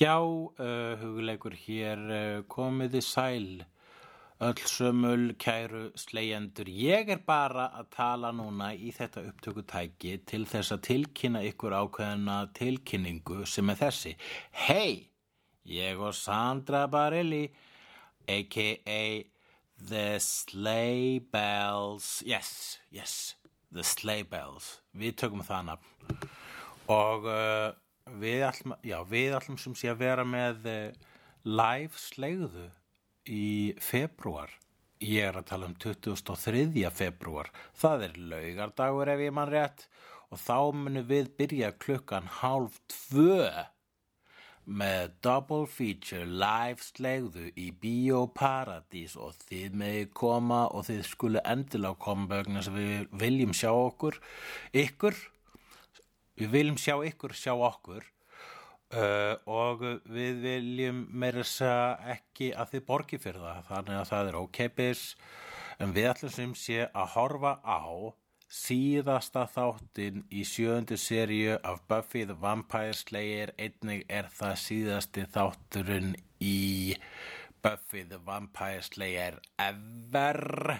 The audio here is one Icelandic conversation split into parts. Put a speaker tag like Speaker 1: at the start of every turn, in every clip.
Speaker 1: Já, uh, hugleikur hér uh, komiði sæl, öll sömul, kæru slegjendur. Ég er bara að tala núna í þetta upptökutæki til þess að tilkynna ykkur ákveðna tilkynningu sem er þessi. Hei, ég og Sandra Barilli, a.k.a. The Sleigh Bells, yes, yes, The Sleigh Bells, við tökum það nafn og uh, við allum, já, við allum sem sé að vera með uh, live slegðu í februar ég er að tala um 23. februar það er laugardagur ef ég mann rétt og þá munum við byrja klukkan hálf tvö með double feature live slegðu í Bíóparadís og þið megi koma og þið skulu endilega koma vegna sem við viljum sjá okkur ykkur Við viljum sjá ykkur sjá okkur uh, og við viljum meira þess að ekki að þið borgi fyrir það, þannig að það er ókeipis, en við ætlum sem sé að horfa á síðasta þáttin í sjöundu seríu af Buffy the Vampire Slayer, einnig er það síðasti þátturinn í Buffy the Vampire Slayer ever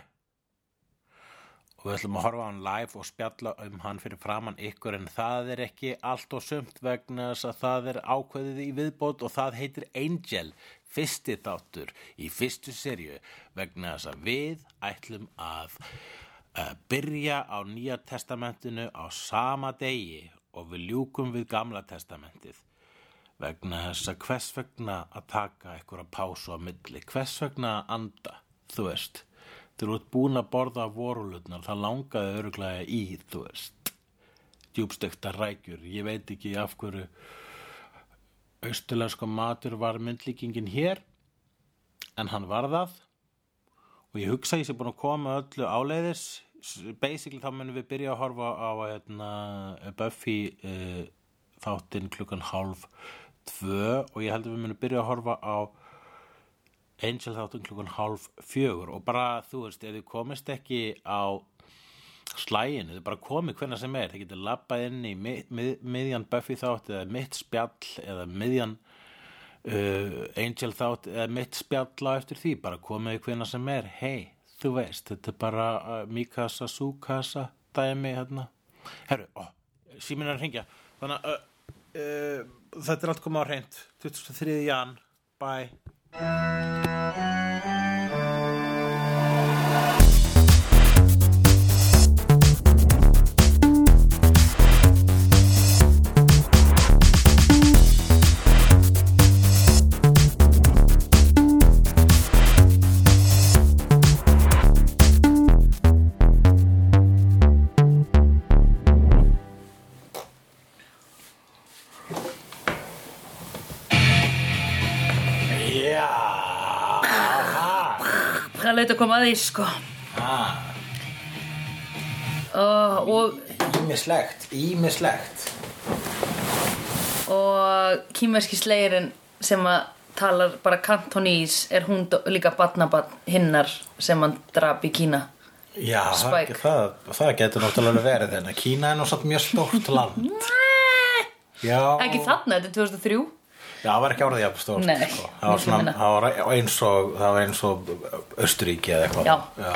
Speaker 1: og við ætlum að horfa á hann live og spjalla um hann fyrir framann ykkur en það er ekki allt og sumt vegna þess að það er ákveðið í viðbót og það heitir Angel, fyrsti þáttur í fyrstu serju vegna þess að við ætlum að uh, byrja á nýja testamentinu á sama degi og við ljúkum við gamla testamentið vegna þess að hvers vegna að taka ykkur að pásu á milli, hvers vegna að anda, þú veist þegar þú ert búin að borða vorulutnar það langaði öruglega í þú veist djúbstekta rækjur ég veit ekki af hverju austulenska matur var myndlíkingin hér en hann var það og ég hugsa ég sé búin að koma öllu áleiðis basically þá munum við byrja að horfa á hérna, Buffy uh, þáttinn klukkan hálf tvö og ég held að við munum byrja að horfa á Angel þáttum klukkan hálf fjögur og bara þú veist, ef þið komist ekki á slæginu, þið bara komið hverna sem er, þið getur lappað inn í mið, mið, miðjan Buffy þátt eða mitt spjall eða miðjan uh, Angel þátt eða mitt spjall á eftir því, bara komið hverna sem er, hei, þú veist, þetta er bara uh, Mikasa, Sukasa, dæmi hérna, herru, ó, síminn er að ringja, þannig að uh, uh, þetta er allt komið á reynd, 23. jan, bye. Já
Speaker 2: Það er leitt að koma að því sko uh, og,
Speaker 1: Ímislegt, ímislegt
Speaker 2: og kýmerski slegirinn sem að talar bara kantonís er hún dó- líka batnabann hinnar sem hann drap í Kína
Speaker 1: Já, það,
Speaker 2: Spike.
Speaker 1: það, það getur náttúrulega verið þennan Kína er náttúrulega mjög stórt land Já,
Speaker 2: Ekki þarna, þetta er 2003
Speaker 1: já, það var ekki árið jafn stórt
Speaker 2: Nei,
Speaker 1: sko. það, var
Speaker 2: miklu
Speaker 1: svona,
Speaker 2: minna.
Speaker 1: það var e- eins og það var eins og Östuríki eða eitthvað
Speaker 2: Já.
Speaker 1: já.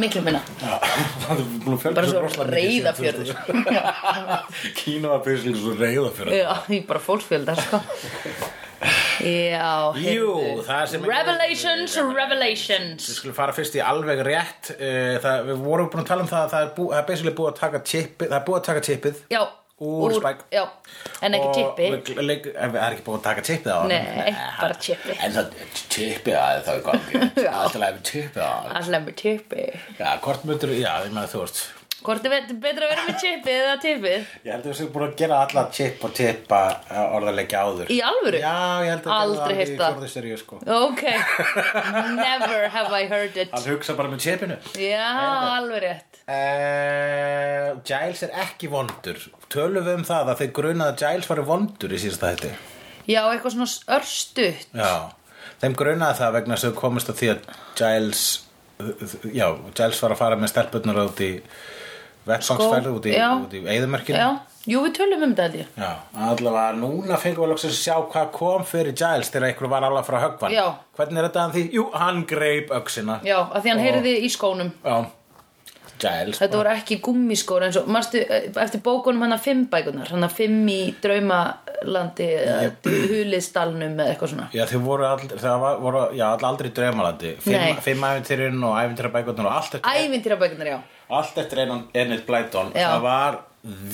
Speaker 2: Miklu minna
Speaker 1: Já. Það er búin að fjölga
Speaker 2: Bara svo
Speaker 1: rosalega mikið síðan
Speaker 2: Reyðarfjörður.
Speaker 1: 2000. sko. Kína var byrjuslík svo reyða fyrir
Speaker 2: Já, því bara fólksfjöldar sko Já,
Speaker 1: Jú,
Speaker 2: heyrðu.
Speaker 1: það sem ekki-
Speaker 2: Revelations, revelations
Speaker 1: Við skulum fara fyrst í alveg rétt eh, það, Við vorum búin að tala um það að það er, bú, það er basically búið að taka tippið Það er búið að taka tippið
Speaker 2: Já,
Speaker 1: Úr Spike.
Speaker 2: Já, en ekki
Speaker 1: Og
Speaker 2: tippi
Speaker 1: við- leik- en Það er ekki búið að taka tippið á hann
Speaker 2: Nei, bara tippi
Speaker 1: En það tippið að það er gangi Það
Speaker 2: Já.
Speaker 1: er alltaf að tippið að hann.
Speaker 2: Allar með tippi
Speaker 1: Já, hvort myndur, já, ég með þú veist
Speaker 2: Hvort er bet- betra að vera með tippið eða tippið?
Speaker 1: Ég held að við séum búin að gera alla tipp og tippa orðarleikja áður
Speaker 2: Í alvöru?
Speaker 1: Já, ég held að
Speaker 2: Aldrei heyrt það.
Speaker 1: Fjórðu seríu, sko
Speaker 2: Ok, never have I heard it
Speaker 1: Hann hugsa bara með tippinu
Speaker 2: Já, alveg rétt
Speaker 1: Uh, Giles er ekki vondur Tölum við um það að þeir grunaði að Giles var vondur í síðasta hætti
Speaker 2: Já, eitthvað svona örstutt
Speaker 1: Já, þeim grunaði það vegna þess að þau komist að því að Giles Já, Giles var að fara með stelpunnar út í vettfangsferð út í,
Speaker 2: já.
Speaker 1: út í eðumörkinu
Speaker 2: Já. Jú, við tölum um þetta held ég.
Speaker 1: Já, allavega núna fengum við loksins að sjá hvað kom fyrir Giles þegar einhver var alveg frá höggvan.
Speaker 2: Já.
Speaker 1: Hvernig er þetta að því? Jú, hann greip öxina.
Speaker 2: Já, af því hann
Speaker 1: Og-
Speaker 2: heyrði í skónum.
Speaker 1: Já. Giles.
Speaker 2: Þetta voru ekki gummiskór eins og, marstu, eftir bókunum hann að fimm bækunar, hann að fimm í draumalandi, yep. huliðstalnum eða eitthvað svona.
Speaker 1: Já, þau voru aldrei, það var, voru, já, all- aldrei draumalandi.
Speaker 2: Nei.
Speaker 1: Fimm, fimm æfintýrin og æfintýrabækurnar og allt eftir,
Speaker 2: Ævintýra bækunar, já.
Speaker 1: allt eftir einan ennit blædón.
Speaker 2: Já.
Speaker 1: Það var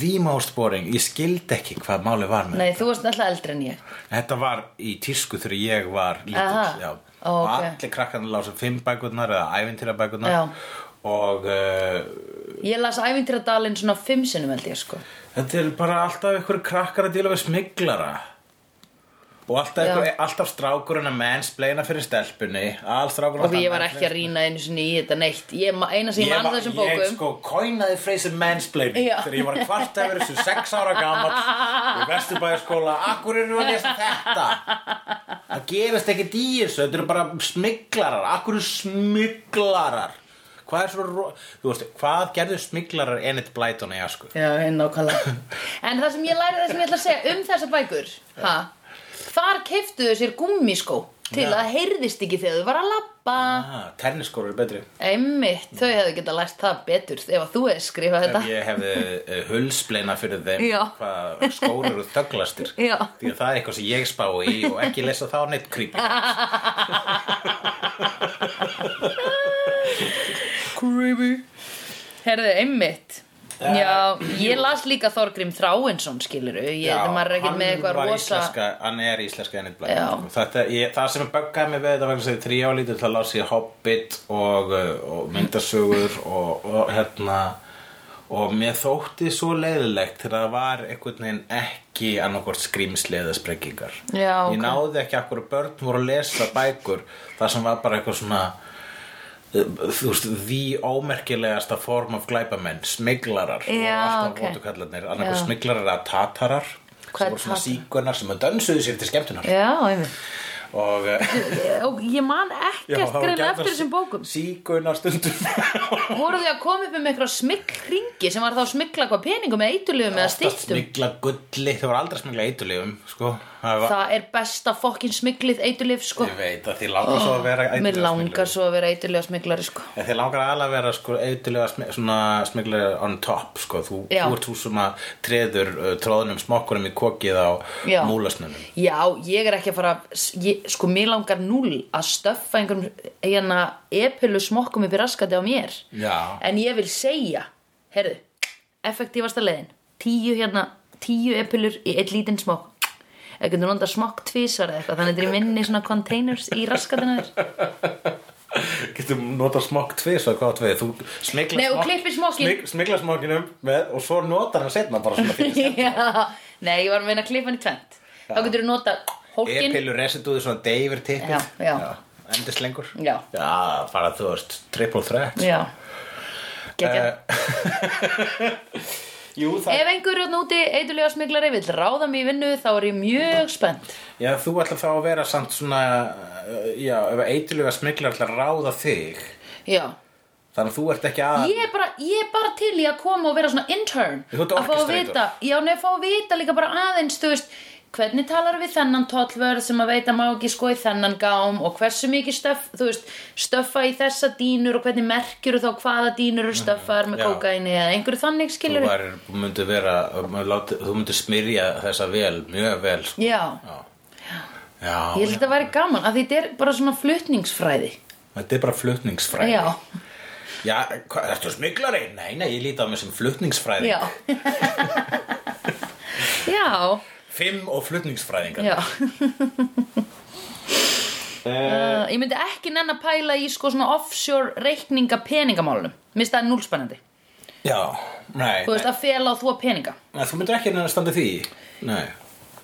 Speaker 1: the most boring. Ég skildi ekki hvað máli var með.
Speaker 2: Nei, þú varst náttúrulega eldri en ég.
Speaker 1: Þetta var í tísku þegar ég var
Speaker 2: Aha.
Speaker 1: lítill. já.
Speaker 2: Ó,
Speaker 1: Og
Speaker 2: ok.
Speaker 1: Allir krakkarnir lásu fimm bækurnar eða æfintýrabækurnar.
Speaker 2: Já.
Speaker 1: Og uh,
Speaker 2: Ég las ævintýra dalinn svona fimm sinnum held ég, sko.
Speaker 1: þetta er bara alltaf einhver krakkar að díla við smiglara. Og alltaf,
Speaker 2: Já.
Speaker 1: einhver, alltaf strákurinn að mennsbleina fyrir stelpunni. Alltaf
Speaker 2: Og ég var ekki að rýna einu sinni í þetta neitt. Ég, ma- eina sem ég
Speaker 1: Ég,
Speaker 2: man
Speaker 1: var,
Speaker 2: af þessum
Speaker 1: ég
Speaker 2: bókum.
Speaker 1: sko kóinaði freysin mansplaining
Speaker 2: Já.
Speaker 1: þegar ég var kvart að vera þessu sex ára gammal í Vesturbæjarskóla Akkur eru að lesa þetta? Það gerist ekki dýr Þetta eru bara smiklarar Akkur eru smiklarar Hvað er svo ro... Þú veist, hvað gerðu smiklarar Enid Blyton í asku?
Speaker 2: Já, hinn nákvæmlega. en það sem ég læri, það sem ég ætla að segja um þessa bækur, ha, þar keftuðu sér gummiskó til
Speaker 1: Já.
Speaker 2: að heyrðist ekki þegar þau var að labba.
Speaker 1: Ah, tenniskórar eru betri
Speaker 2: Einmitt, þau hefðu getað lært það betur ef að þú hefði skrifað þetta.
Speaker 1: Ef ég hefði uh, hulspleina fyrir þeim
Speaker 2: Já.
Speaker 1: hvað skór eru þögglastir
Speaker 2: Já.
Speaker 1: því að það er eitthvað sem ég spá í og ekki lesa þá neitt creepy
Speaker 2: Creepy. Herðu, einmitt.
Speaker 1: Eh,
Speaker 2: Já, ég las líka Þorgrim Þráinsson, skiluru. Ég, það maður er ekkert með eitthvað
Speaker 1: var
Speaker 2: rosa...
Speaker 1: íslenska, hann er íslenska ennit
Speaker 2: Já.
Speaker 1: blæð þetta, ég, það sem böggaði mig við þetta vegna þegar þrjá lítur það lási ég Hobbit og, uh, og myndasögur og, og hérna og mér þótti svo leiðilegt þegar það var einhvern veginn ekki annarkvort skrýmsli eða sprengingar
Speaker 2: Já,
Speaker 1: ég
Speaker 2: ok.
Speaker 1: náði ekki akkur að börn voru að lesa bækur það sem var bara eitthvað svona uh, þú veist, því ómerkilegasta form af glæpamenn, smiglarar og
Speaker 2: Já,
Speaker 1: alltaf
Speaker 2: ok.
Speaker 1: okay. votukallarnir, annarkoð
Speaker 2: Já.
Speaker 1: smiglarar eða tatarar sem
Speaker 2: Hvað er
Speaker 1: voru svona
Speaker 2: tatarar?
Speaker 1: síkunar sem dönsuðu sér til skemmtunar
Speaker 2: Já, einmitt.
Speaker 1: og eh,
Speaker 2: Og ég man
Speaker 1: já,
Speaker 2: ekkert
Speaker 1: það var
Speaker 2: greina
Speaker 1: gjarnan
Speaker 2: eftir þessum bókum.
Speaker 1: síkunar stundum
Speaker 2: Voru þau að koma upp um eitthvað smikringi sem var þá að smikla hvað peningum eða eitulugum eða
Speaker 1: Oftast
Speaker 2: stýttum?
Speaker 1: smigla gulli, þau voru aldrei að smigla eitulífum sko. það var,
Speaker 2: Það er besta fokkin smiklið eitulif, sko.
Speaker 1: ég veit að því langar svo að vera
Speaker 2: Mér
Speaker 1: eitulífasmiglari.
Speaker 2: langar svo að vera eitulega smiklari, sko.
Speaker 1: En þið langar aðlega að vera sko, eitthulega svona smiglega on top sko. þú,
Speaker 2: Já.
Speaker 1: þú ert þú sem að treður uh, tróðunum smokkunum í kokið á
Speaker 2: Já.
Speaker 1: múlasnunum
Speaker 2: Já, ég er ekki að fara ég, sko, mér langar núl að stöffa einhverjum hérna epilu smokkum upp í raskati á mér
Speaker 1: Já.
Speaker 2: en ég vil segja, herðu effektífasta leiðin, tíu hérna tíu epilur í eitt lítinn smokk eða getur nota smokk tvísar eða eitthvað þannig þetta er í minni svona containers í raskatina þér
Speaker 1: Getum nota smokk tvis og hvað tvið Þú smigla
Speaker 2: Nei, og klippir smokkinn.
Speaker 1: smigla smokkinum með, og svo notar hann setna bara svona fyrir
Speaker 2: Já, Nei, ég var að meina að klippa hann í tvent þá getur þú nota hólkin
Speaker 1: Epilu residúði svona deyfir tippið
Speaker 2: Já, já.
Speaker 1: Endist lengur
Speaker 2: Já.
Speaker 1: Já, bara þú veist, triple threat
Speaker 2: Já, geggjað
Speaker 1: Eh, Jú, Eh, það
Speaker 2: Ef einhverjum hérna úti eitulega smiklari vill ráða mig í vinnu þá er ég mjög spennt.
Speaker 1: Já, þú ætlar þá að vera samt svona uh, Já, ef eitulega smigla ætlar að ráða þig
Speaker 2: Já.
Speaker 1: Þannig að þú ert ekki að
Speaker 2: Ég er, bara, ég er bara til í að koma og vera svona intern.
Speaker 1: Þú ert
Speaker 2: Að fá að
Speaker 1: orkestrator.
Speaker 2: vita, já, nei, að fá að vita líka bara aðeins, þú veist, hvernig talar við þennan tollvörð sem að veita má ekki sko í þennan gám og hversu mikið stöf, þú veist, stöffa í þessa dýnur og hvernig merkjur þá hvaða dýnur eru stöffaðar
Speaker 1: Mm,
Speaker 2: með
Speaker 1: já.
Speaker 2: kókaini eða einhverju þannig
Speaker 1: Þú
Speaker 2: skilur.
Speaker 1: var, myndir vera, láti, þú myndir smyrja þessa vel, mjög vel sko.
Speaker 2: Já.
Speaker 1: Já,
Speaker 2: Ég held að þetta væri gaman, að þetta er bara svona flutningsfræði.
Speaker 1: þetta er bara flutningsfræði
Speaker 2: Já.
Speaker 1: Já, hvað, ertu smiklari? Nei, nei, ég líti á mig sem flutningsfræðing
Speaker 2: Já. já.
Speaker 1: Fimm og flutningsfræðingar
Speaker 2: Já.
Speaker 1: Eh.
Speaker 2: Uh, ég myndi ekki nenn að pæla í sko svona offshore reikninga peningamálunum Mér finnst það núlspennandi
Speaker 1: Já, nei
Speaker 2: Þú veist að fela og þvó peninga
Speaker 1: nei, Þú myndir ekki neina standa því Nei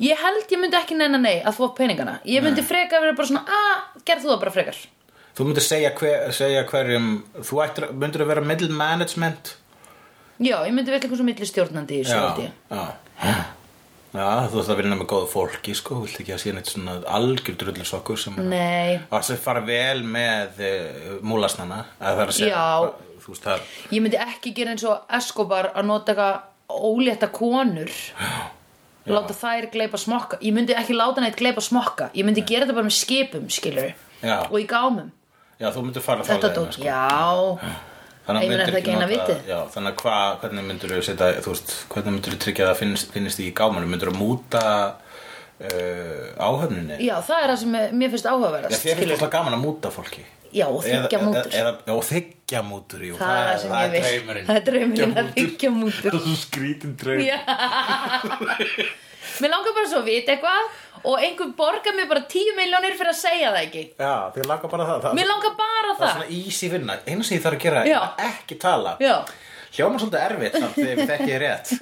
Speaker 2: Ég held ég myndi ekki nenn að nei að þvó peningana Ég myndi frekar vera bara svona að gerð þú það bara frekar
Speaker 1: Þú myndir segja, hver, segja hverjum Þú ættir, myndir að vera middle management
Speaker 2: Já, ég myndi vel eitthvað svo milli stjórnandi í þessu held ég.
Speaker 1: já Já, þú ætti að vinna með góðu fólki, sko, vilt ekki að sé neitt svona algjör drullusokkur sem er-
Speaker 2: Nei,
Speaker 1: Það sem fara vel með uh, múlasnana að það er að segja
Speaker 2: Já.
Speaker 1: þú veist það
Speaker 2: ég myndi ekki gera eins og Escobar að nota eitthvað ólétta konur láta þær gleipa smokka ég myndi ekki láta neitt gleipa smokka ég myndi gera þetta bara með skipum skilur
Speaker 1: Já.
Speaker 2: og í gámum
Speaker 1: já, þú myndir fara þá
Speaker 2: þetta
Speaker 1: leiðina, sko.
Speaker 2: dót, já
Speaker 1: Þannig að
Speaker 2: Ég meina,
Speaker 1: myndir
Speaker 2: er það ekki eina
Speaker 1: nota-
Speaker 2: vitið?
Speaker 1: Já, þannig að hva, hvernig myndir þú setja, þú veist, hvernig myndir þú tryggja að það finnist, finnst í gámanum? Myndir þú múta uh, áhöfninni?
Speaker 2: já, það er það sem mér finnst
Speaker 1: Já,
Speaker 2: áhugaverðast
Speaker 1: þér finnst
Speaker 2: skilur.
Speaker 1: alltaf gaman að múta fólki.
Speaker 2: já, og þykja
Speaker 1: Eða-
Speaker 2: mútur
Speaker 1: eða- Já, og þykja mútur, jú.
Speaker 2: það er það sem ég
Speaker 1: er
Speaker 2: vil
Speaker 1: draumurinn.
Speaker 2: það er draumurinn að
Speaker 1: Þykkja mútur.
Speaker 2: þykja mútur
Speaker 1: Það er svo skrítin draum.
Speaker 2: Já. mér langar bara svo að vita eitthvað og einhver borgar mér bara 10 miljónir fyrir að segja það ekki
Speaker 1: Já, þér langar bara það. það
Speaker 2: mér langar bara
Speaker 1: Það er
Speaker 2: það
Speaker 1: svona easy vinna. Einu sem ég þarf að gera
Speaker 2: Já.
Speaker 1: er að ekki tala.
Speaker 2: já
Speaker 1: Hljóma svolítið erfitt samt þegar ég þekki ég rétt.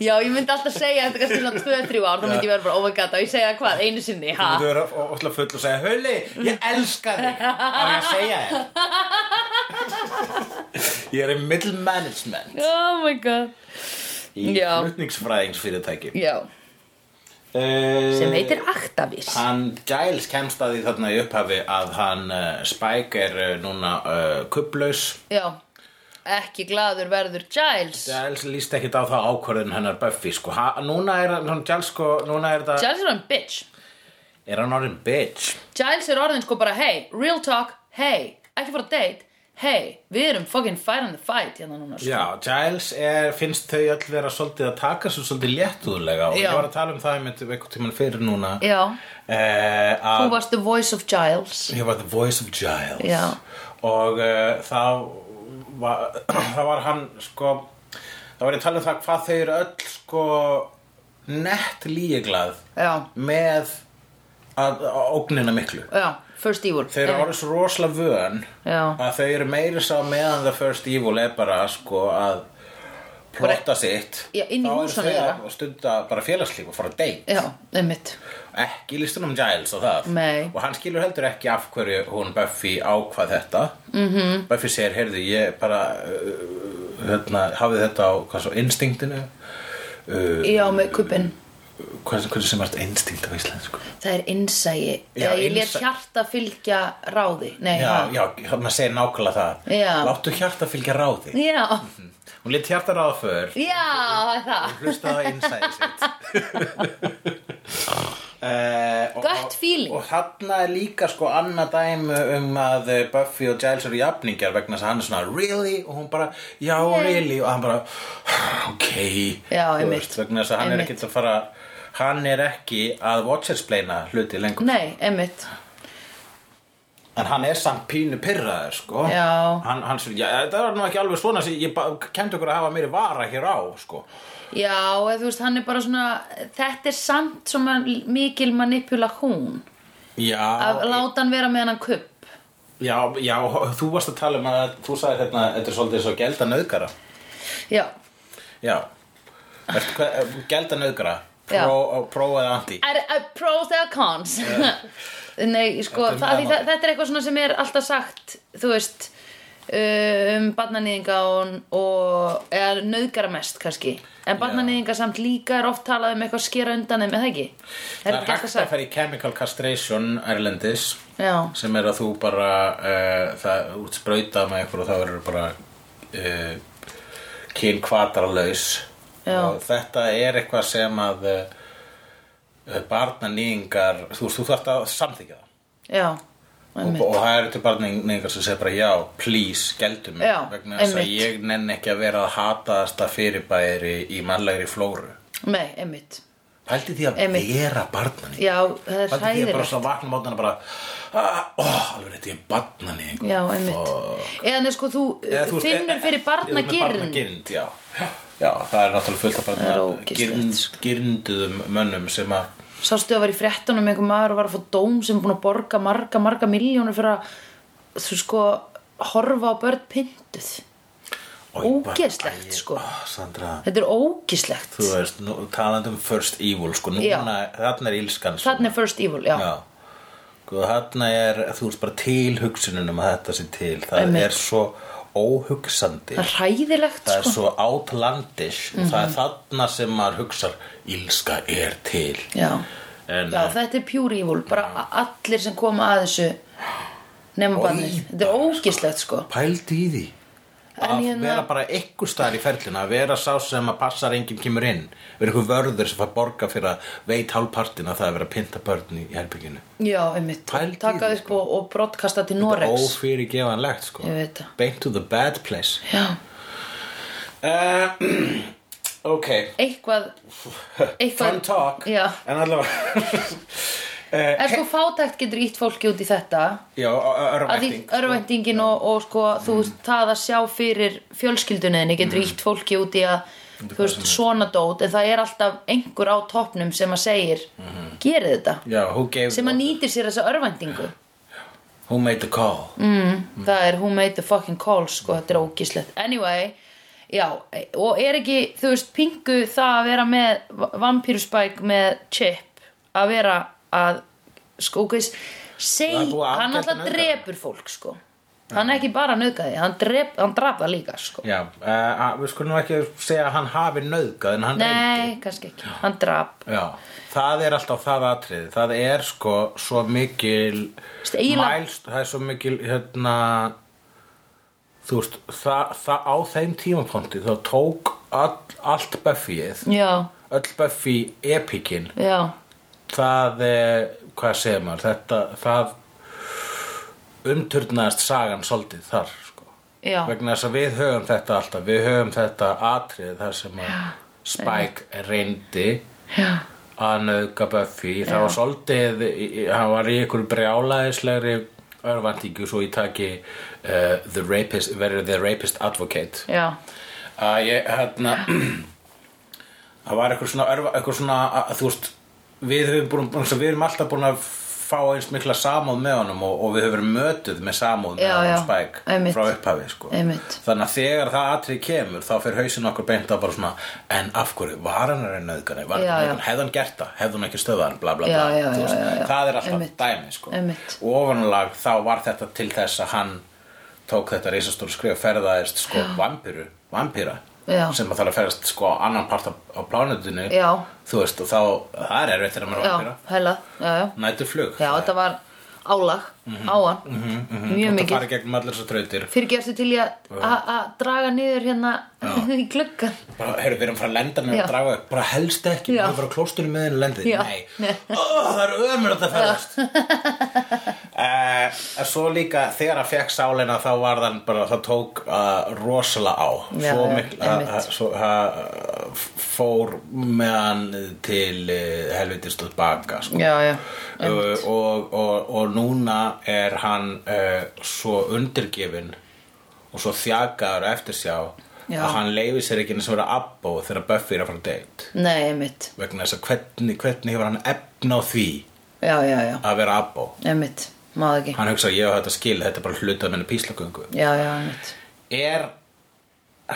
Speaker 2: Já, ég myndi alltaf segja þetta kannski svona 2-3 ár, þá myndi ég vera bara, oh my god, og ég segja hvað, einu sinni, ha?
Speaker 1: Þú verður alltaf full og segja Hulli, ég elska þig Á ég að segja þér Ég er í middle management
Speaker 2: Oh my god.
Speaker 1: Í
Speaker 2: Já.
Speaker 1: flutningsfræðingsfyrirtæki Eh,
Speaker 2: Já, sem heitir Aktavis.
Speaker 1: Hann Giles kemst að því þarna í upphafi að hann uh, Spike er uh, núna uh, kublaus
Speaker 2: Já, ekki gladur verður Giles.
Speaker 1: Giles líst ekkit á það ákvörðin hennar Buffy sko. ha, Núna er hann, hann Giles sko, núna er það
Speaker 2: Giles er orðin bitch.
Speaker 1: Er hann orðin bitch
Speaker 2: Giles er orðin sko bara, hey, real talk, hey, ekki fara að date, hey, við erum fucking fight on the fight hérna núna. sko.
Speaker 1: Já, Giles er, finnst þau öll vera svolítið að taka svo svolítið léttúðulega og
Speaker 2: Já.
Speaker 1: ég var að tala um það einmitt eitthvað tímann fyrir núna
Speaker 2: Já,
Speaker 1: eh,
Speaker 2: þú
Speaker 1: að
Speaker 2: varst the voice of Giles.
Speaker 1: ég var the voice of Giles
Speaker 2: Já.
Speaker 1: og eh, þá var, þá var hann sko þá var ég að tala um það hvað þau eru öll sko nett líeglað
Speaker 2: Já,
Speaker 1: með að, að ógnina miklu
Speaker 2: já, first evil.
Speaker 1: þau eru orðið svo rosalega vön
Speaker 2: Já.
Speaker 1: að þau eru meira sá meðan The First Evil er bara sko að plotta sitt
Speaker 2: Já, inn í
Speaker 1: þá eru
Speaker 2: húsunum
Speaker 1: þau
Speaker 2: þeirra.
Speaker 1: að- og stunda bara félagslíf og fara að deyta
Speaker 2: Já, einmitt.
Speaker 1: ekki listunum Giles og það
Speaker 2: Nei.
Speaker 1: og hann skilur heldur ekki af hverju hún Buffy ákvað þetta -hmm.
Speaker 2: Mhm.
Speaker 1: Buffy segir, heyrðu, ég bara uh, hérna, hafið þetta á hvað svo, instinktinu uh,
Speaker 2: Já, með kuppin.
Speaker 1: hvað, hvað sem er instinkt á íslensku
Speaker 2: Það er innsægi.
Speaker 1: Já,
Speaker 2: ég let
Speaker 1: innsæi.
Speaker 2: hjarta fylgja ráði. Nei,
Speaker 1: Já,
Speaker 2: ha.
Speaker 1: já, maður segir nákvæmlega það
Speaker 2: Já.
Speaker 1: Láttu hjarta fylgja ráði
Speaker 2: Já,
Speaker 1: Hún lit hjarta ráða för
Speaker 2: já, það er það.
Speaker 1: hlustaði á innsæði sitt Uh,
Speaker 2: Gut feeling.
Speaker 1: og þarna er líka sko annað dæmi um að eh, Buffy og Giles eru jafningar vegna þess að hann er svona really og hún bara já really og hann bara ok
Speaker 2: Já,
Speaker 1: Þú
Speaker 2: einmitt.
Speaker 1: veist, vegna þess að hann er
Speaker 2: Einmitt.
Speaker 1: ekkert að fara hann er ekki að watchersplaina hluti lengur
Speaker 2: Nei, einmitt.
Speaker 1: en hann er samt pínu pyrraður sko
Speaker 2: Já.
Speaker 1: hann, hann svo, já, það var nú ekki alveg svona sem ég kendi okkur að hafa meiri vara hér á sko
Speaker 2: Já, eða þú veist, hann er bara svona, þetta er samt svo man, mikil manipulahún
Speaker 1: já,
Speaker 2: að láta hann vera með hennan kupp.
Speaker 1: Já, já, þú varst að tala um að þú sagði hérna, þetta er svolítið svo gelda nöðgara
Speaker 2: Já,
Speaker 1: Já Ertu hvað, eh, gelda nöðgara
Speaker 2: Já.
Speaker 1: Pro, pro eh, eða anti
Speaker 2: er, er pros eða cons. Nei,
Speaker 1: Þetta
Speaker 2: sko,
Speaker 1: er
Speaker 2: það, því,
Speaker 1: meðalmál.
Speaker 2: það, þetta er eitthvað svona sem er alltaf sagt, þú veist, um barnanýðinga og, og eða nöðgara mest kannski. En barnanýðinga samt líka er oft talað um eitthvað að skera undan þeim, er það ekki?
Speaker 1: Það er
Speaker 2: ekki alltaf
Speaker 1: hægt að fara í chemical castration Erlendis
Speaker 2: Já,
Speaker 1: sem er að þú bara uh, það út sprauta með einhver og það verður bara uh, kyn kvatarlaus
Speaker 2: Já.
Speaker 1: og þetta er eitthvað sem að uh, barnanýingar þú veist, þú þarft að samþykja það
Speaker 2: já,
Speaker 1: og,
Speaker 2: einmitt.
Speaker 1: og það eru til barningar sem segir bara já, please, geldu mig
Speaker 2: Já,
Speaker 1: vegna þess að
Speaker 2: einmitt.
Speaker 1: ég nenn ekki að vera að hataðasta fyrirbæri í mannlegri flóru
Speaker 2: Nei, einmitt.
Speaker 1: Pældi því að
Speaker 2: Einmitt.
Speaker 1: vera barnaník
Speaker 2: Já, það
Speaker 1: Pældi því
Speaker 2: er
Speaker 1: að bara
Speaker 2: hræðilegt.
Speaker 1: svo vakna mótana bara ah, ó, alveg rétt, ég er barnaník
Speaker 2: Já, einmitt Eða neð sko þú
Speaker 1: e,
Speaker 2: finnur fyrir barnagirn
Speaker 1: barnagirnd já. já, það er náttúrulega fullt af
Speaker 2: Það er ógeðslegt,
Speaker 1: barnagirnd girnduðum mönnum sem að
Speaker 2: Sástu að var í fréttunum einhver maður og var að fá dóm sem er búin að borga marga, marga miljónur fyrir að þú sko horfa á börn pynduð
Speaker 1: Ó, ég bara-
Speaker 2: Ógeðslegt,
Speaker 1: Æ,
Speaker 2: sko.
Speaker 1: ó, Sandra,
Speaker 2: Þetta er ógislegt
Speaker 1: þú veist, nú, talandi um first evil sko,
Speaker 2: Já.
Speaker 1: núna, þarna er ílskan sko.
Speaker 2: Þannig er first evil, já,
Speaker 1: Já, Guð, þarna er, þú veist bara til hugsununum að þetta sé til Það
Speaker 2: Einmitt.
Speaker 1: er svo óhugsandi
Speaker 2: Það er hræðilegt
Speaker 1: Það er
Speaker 2: sko Mhm.
Speaker 1: svo outlandish og Það er þarna sem maður hugsar, ílska er til
Speaker 2: Já,
Speaker 1: En
Speaker 2: já þetta er pure evil Bara a- allir sem koma að þessu nema
Speaker 1: Og
Speaker 2: barnið
Speaker 1: í
Speaker 2: Þetta er
Speaker 1: bara,
Speaker 2: ógislegt sko
Speaker 1: pældi í því að
Speaker 2: hérna-
Speaker 1: vera bara einhver staðar í ferlinu að vera sá sem að passar enginn kemur inn vera einhver vörður sem fær borga fyrir að veit hálfpartin að það er að vera að pynta börn í herbygginu
Speaker 2: Já, einmitt,
Speaker 1: Pældu í
Speaker 2: taka
Speaker 1: því, sko.
Speaker 2: upp og, og brotkasta til Norex
Speaker 1: ófyrir gefanlegt sko
Speaker 2: Ég veit það.
Speaker 1: beint to the bad place
Speaker 2: Já,
Speaker 1: uh, ok
Speaker 2: eitthvað, eitthvað
Speaker 1: fun talk
Speaker 2: Já,
Speaker 1: en allavega uh,
Speaker 2: en sko fátækt getur ítt fólki út í þetta
Speaker 1: já,
Speaker 2: að því
Speaker 1: örvænting
Speaker 2: örvæntingin og, og sko þú veist, það að sjá fyrir fjölskyldunniðinni getur ítt fólki út í að þú veist, svona dót en það er alltaf einhver á toppnum sem að segir gerið þetta,
Speaker 1: já, who gave
Speaker 2: sem að nýtir sér þessa örvæntingu
Speaker 1: who made the call
Speaker 2: Mm. það er who made the fucking call sko, þetta er ógíslegt anyway, já, og er ekki þú veist, pingu það að vera með vampýruspæk með chip að vera að sko, guys,
Speaker 1: Það
Speaker 2: seg,
Speaker 1: er búið að
Speaker 2: hann
Speaker 1: ágæta
Speaker 2: alltaf
Speaker 1: nauðgara.
Speaker 2: drepur fólk sko, hann er ekki bara nöðgæði hann, drep, hann drap það líka sko
Speaker 1: já, uh, við skulum nú ekki segja að hann hafi nöðgað en hann
Speaker 2: nei, kannski ekki, hann drap
Speaker 1: Já, það er alltaf það atriði Það er sko svo mikil
Speaker 2: Veist, eiginlega-
Speaker 1: mælst, það er svo mikil hérna þú veist, það, það á þeim tímapunkti þá tók all, allt Buffyið,
Speaker 2: já,
Speaker 1: öll Buffy epikin,
Speaker 2: já,
Speaker 1: það er, hvað segir maður, þetta það umturnaðist sagan svolítið þar sko.
Speaker 2: já
Speaker 1: vegna þess að við höfum þetta alltaf, við höfum þetta atriði þar sem að Spike reyndi
Speaker 2: já,
Speaker 1: að nöðga Buffy það var svolítið, í- í- hann var í ykkur brjálæðislegri örvandíku svo ég taki uh, the rapist, verið the rapist advocate
Speaker 2: já,
Speaker 1: að ég, hérna það var eitthvað svona, örva, eitthvað svona að, þú veist, við höfum búin, búin við erum alltaf búin að fá eins mikla samúð með honum og, og við höfum verið mötuð með samúð með
Speaker 2: Já, já,
Speaker 1: honum Spike
Speaker 2: einmitt.
Speaker 1: frá upphafi, sko
Speaker 2: Einmitt.
Speaker 1: þannig að þegar það atrið kemur þá fyrir hausin okkur beint á bara svona en af hverju, var hann að nöðgani var hann að
Speaker 2: Já, já.
Speaker 1: nöðgani, hefði hann gert það, hefði hann ekki stöðað hann bla bla
Speaker 2: Já,
Speaker 1: bla,
Speaker 2: já,
Speaker 1: þú
Speaker 2: já,
Speaker 1: veist,
Speaker 2: já, já.
Speaker 1: það er alltaf
Speaker 2: Einmitt.
Speaker 1: dæmi, sko
Speaker 2: Einmitt.
Speaker 1: og ofanulag þá var þetta til þess að hann tók þetta reisastór skrif ferðaðist sko vampiru, vampíra
Speaker 2: Já.
Speaker 1: sem að þarf að ferðast sko á annan part á, á plánutinu
Speaker 2: Já.
Speaker 1: þú veist og þá, það er erfitt þegar maður er
Speaker 2: já,
Speaker 1: vampíra
Speaker 2: hella, já, já
Speaker 1: næturflug
Speaker 2: já, þetta var álag
Speaker 1: Mhm.
Speaker 2: á hann, mjög
Speaker 1: Þú ert að
Speaker 2: mikið
Speaker 1: fara í gegnum allir þessar trautir
Speaker 2: fyrir gerstu til í að- að að draga niður hérna í gluggan
Speaker 1: bara, heyrðu, við erum frá að lenda með
Speaker 2: Já.
Speaker 1: að draga upp bara helst ekki, við
Speaker 2: Já.
Speaker 1: erum frá klóstunum með en lendið
Speaker 2: Já.
Speaker 1: nei,
Speaker 2: Nei.
Speaker 1: Ó, það er ömurð að ferðast uh, svo líka þegar að fekk sálina þá var þann bara, það tók uh, rosalega á
Speaker 2: Já,
Speaker 1: svo
Speaker 2: já,
Speaker 1: mikil að-
Speaker 2: einmitt.
Speaker 1: að- svo, að- að fór með hann til uh, helvitist og baka sko.
Speaker 2: já, já,
Speaker 1: Uh, og, og, og núna er hann uh, svo undirgefin og svo þjakaður og eftirsjá
Speaker 2: Já.
Speaker 1: að hann leifir sér ekki eins og vera abbó þegar Buffy er að fara að deitt
Speaker 2: nei, einmitt
Speaker 1: vegna þess að hvernig, hvernig hefur hann efna á því
Speaker 2: já, já, já,
Speaker 1: að vera abbó
Speaker 2: einmitt, maður ekki
Speaker 1: hann hugsa ég á þetta skil, þetta er bara hluta minni píslagöngu
Speaker 2: já, já, einmitt
Speaker 1: er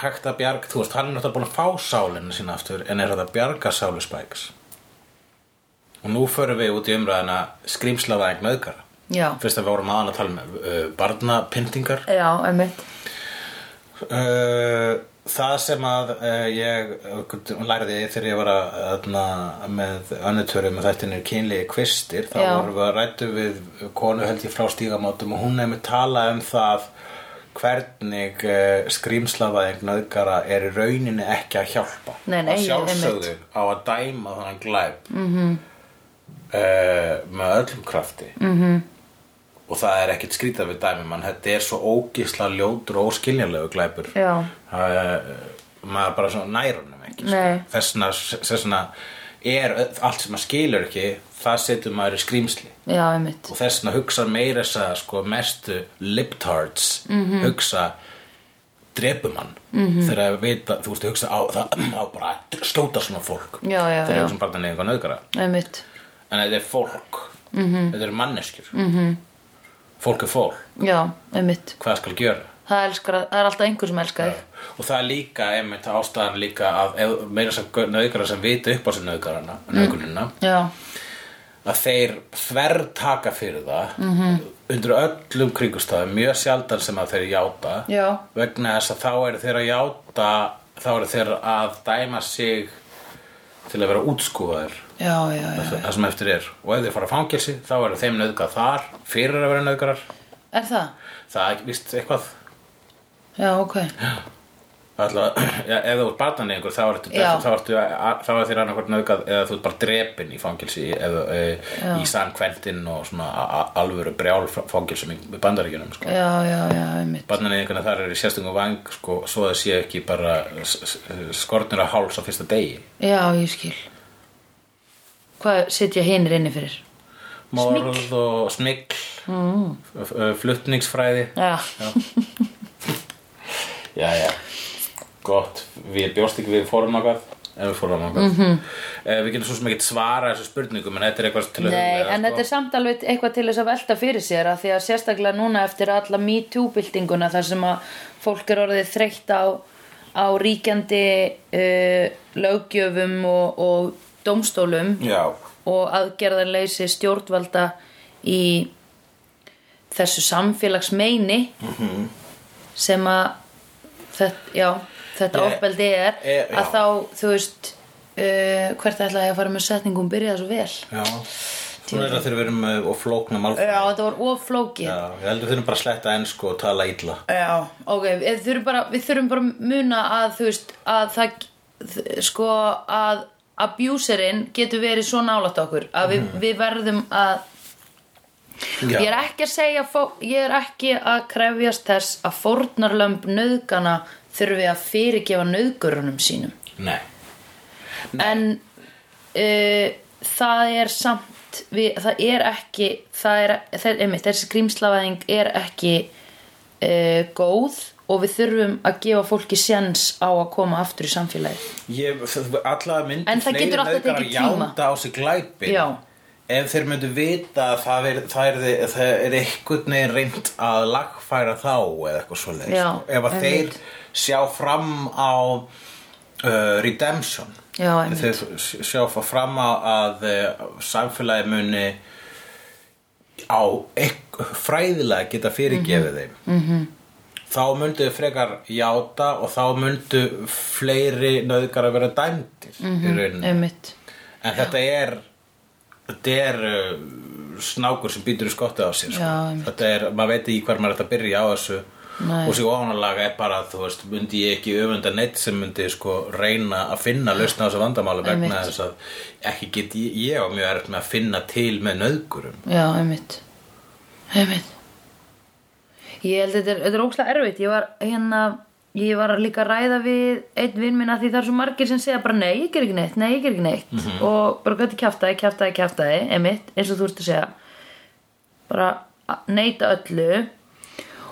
Speaker 1: hægt að bjarga, þú veist, hann er náttúrulega búin að fá sálinu sína aftur en er hægt að bjarga sálu spæks og nú förum við út í umræðina skrýmslaða eign auðgara
Speaker 2: já,
Speaker 1: Fyrst að við vorum aðan að tala með uh, barnapyntingar
Speaker 2: já, einmitt
Speaker 1: uh, Það sem að uh, ég uh, læriði þegar ég var að, aðna, með önnutöru með þættinni kynlegi kvistir þá
Speaker 2: Já.
Speaker 1: vorum við að rættu við konu held ég frá stígamátum og hún nefnir tala um það hvernig uh, skrýmslafaðing nöðgara er í rauninni ekki að hjálpa
Speaker 2: Nei, nei,
Speaker 1: að sjálfsögðu á að dæma þannig glæp mm
Speaker 2: Mhm.
Speaker 1: með öllum krafti mm -hmm. og það er ekkert skrýta við dæmi mann þetta er svo ógisla ljótur og óskiljanlegu glæpur
Speaker 2: Já.
Speaker 1: það er maður bara svona nærunum ekki sko.
Speaker 2: Nei.
Speaker 1: þessna, þessna er ö- allt sem maður skilur ekki það setur maður í skrýmsli
Speaker 2: já, einmitt
Speaker 1: og þessna hugsa meira þess að sko, mestu libtards mm
Speaker 2: Mhm.
Speaker 1: -hmm. hugsa drepumann mm -hmm. þegar að vita, þú veist, hugsa á, það, á bara að skjóta svona fólk
Speaker 2: Já, já,
Speaker 1: þegar
Speaker 2: já.
Speaker 1: hugsa um bara neyðingar nöðgara
Speaker 2: einmitt,
Speaker 1: en þetta er fólk, mm -hmm.
Speaker 2: Mhm.
Speaker 1: þetta er manneskjur mm -hmm. fólk er fólk,
Speaker 2: já, einmitt
Speaker 1: hvað skal gjöra
Speaker 2: það, elskar, það er alltaf einhver sem elskar þig
Speaker 1: og það er líka, einmitt ástæðan líka að ef- meira þess að nöðgara sem vita upp á sér nöðgarana, nöðgunina
Speaker 2: já,
Speaker 1: að þeir þver taka fyrir það undir öllum kringustafum mjög sjaldan sem að þeir játa
Speaker 2: Já.
Speaker 1: vegna þess að þá eru þeir að játa þá eru þeir að dæma sig til að vera útskúfaðir
Speaker 2: já, já, já
Speaker 1: það sem eftir er og ef þeir fara að fangelsi þá eru þeim nöðgað þar fyrir að vera nöðgarar
Speaker 2: er það?
Speaker 1: það er víst eitthvað
Speaker 2: já, ok
Speaker 1: Alla, ja, ef þú ert batan í einhver þá ertu,
Speaker 2: Já.
Speaker 1: þá ertu, þá ertu þér annarkvort nöðgað eða þú ert bara drepin í fangilsi eða, e, í San Quentin og svona a- a- alvöru brjál fangilsum í í bandaríkjunum sko.
Speaker 2: já, já, já, einmitt
Speaker 1: Barnan einhvern þar eru í sérstungu vang sko, svo það sé ekki bara s- s- skornir að háls á fyrsta degi
Speaker 2: já, ég skil hvað setja hinir inni fyrir
Speaker 1: Morð og smikl mm. flutningsfræði
Speaker 2: já,
Speaker 1: Já, já Gott, við bjóst ekki við fórum nákvæð En við fórum nákvæð mm
Speaker 2: Mhm.
Speaker 1: -hmm. Við getum svo sem ekkert svara þessu spurningum En þetta er eitthvað til að sko.
Speaker 2: nei,
Speaker 1: hugleiða,
Speaker 2: en þetta er samt alveg eitthvað til þess að velta fyrir sér að því að sérstaklega núna eftir alla MeToo-byltinguna þar sem að fólk er orðið þreytt á, á ríkjandi uh, löggjöfum og, og dómstólum
Speaker 1: Já,
Speaker 2: og aðgerðarleysi stjórnvalda í þessu samfélagsmeini
Speaker 1: Mhm.
Speaker 2: sem að þetta, já, þetta
Speaker 1: Ég-
Speaker 2: ofbeldi er
Speaker 1: e- já.
Speaker 2: að þá, þú veist uh, hvert ætlaði ég að fara með setningum byrjaði svo vel
Speaker 1: Já, svona er það þegar við erum uh, og flóknum alveg.
Speaker 2: Já, þetta var offlókið
Speaker 1: Já, ég heldur þurfum bara að sletta ensku og tala illa.
Speaker 2: Já, ok, við þurfum bara, við þurfum bara að muna að þú veist að það, þ- sko að abuserinn getur verið svo nálægt okkur að við, við verðum að
Speaker 1: Mhm. Já.
Speaker 2: ég er ekki að segja fó- ég er ekki að krefjast þess að fórnarlömb nöðgana þurfi að fyrirgefa nöðgurunum sínum
Speaker 1: Nei.
Speaker 2: en uh, það er samt við, það er ekki það er, þeir, einmitt, þessi grímslavæðing er ekki uh, góð og við þurfum að gefa fólki séns á að koma aftur í samfélagið
Speaker 1: Ég, alla myndi
Speaker 2: En það getur alltaf tekið tíma.
Speaker 1: jánda á sig glæpin.
Speaker 2: Já.
Speaker 1: Ef þeir myndu vita að það er, það er, það er einhvern veginn reynd að lagfæra þá eða eitthvað svoleiðis.
Speaker 2: Já,
Speaker 1: sko. Ef að
Speaker 2: einmitt.
Speaker 1: þeir sjá fram á uh, redemption.
Speaker 2: Já, einmitt.
Speaker 1: Þeir s- sjá fram á að uh, samfélagi muni á ekk, fræðilega geta
Speaker 2: Mhm.
Speaker 1: fyrirgefið þeim mm -hmm. þá myndu þau frekar játa og þá myndu fleiri nöðgar að vera dæmdir
Speaker 2: Mhm.
Speaker 1: í rauninni
Speaker 2: einmitt
Speaker 1: en þetta er þetta er uh, snákur sem býtur í skottið á sér sko.
Speaker 2: Já, einmitt.
Speaker 1: þetta er, maður veit ekki hvar maður ætti að byrja á þessu
Speaker 2: Nei.
Speaker 1: og sér ofanalega er bara þú veist, myndi ég ekki öfunda neitt sem myndi sko reyna að finna lausna á þessu vandamáli vegna
Speaker 2: Einmitt.
Speaker 1: þess að ekki get ég, ég á mjög erfitt með að finna til með nöðgurum
Speaker 2: Já, einmitt Einmitt Ég held þetta er, þetta er ókslega erfitt Ég var hérna Ég var líka að ræða við einn vinn minn að því það er svo margir sem segja bara nei, ég ger ekki neitt, nei, ég ger ekki neitt og bara gæti kjaftaði, kjaftaði, kjaftaði einmitt, eins og þú ert að segja bara að neita öllu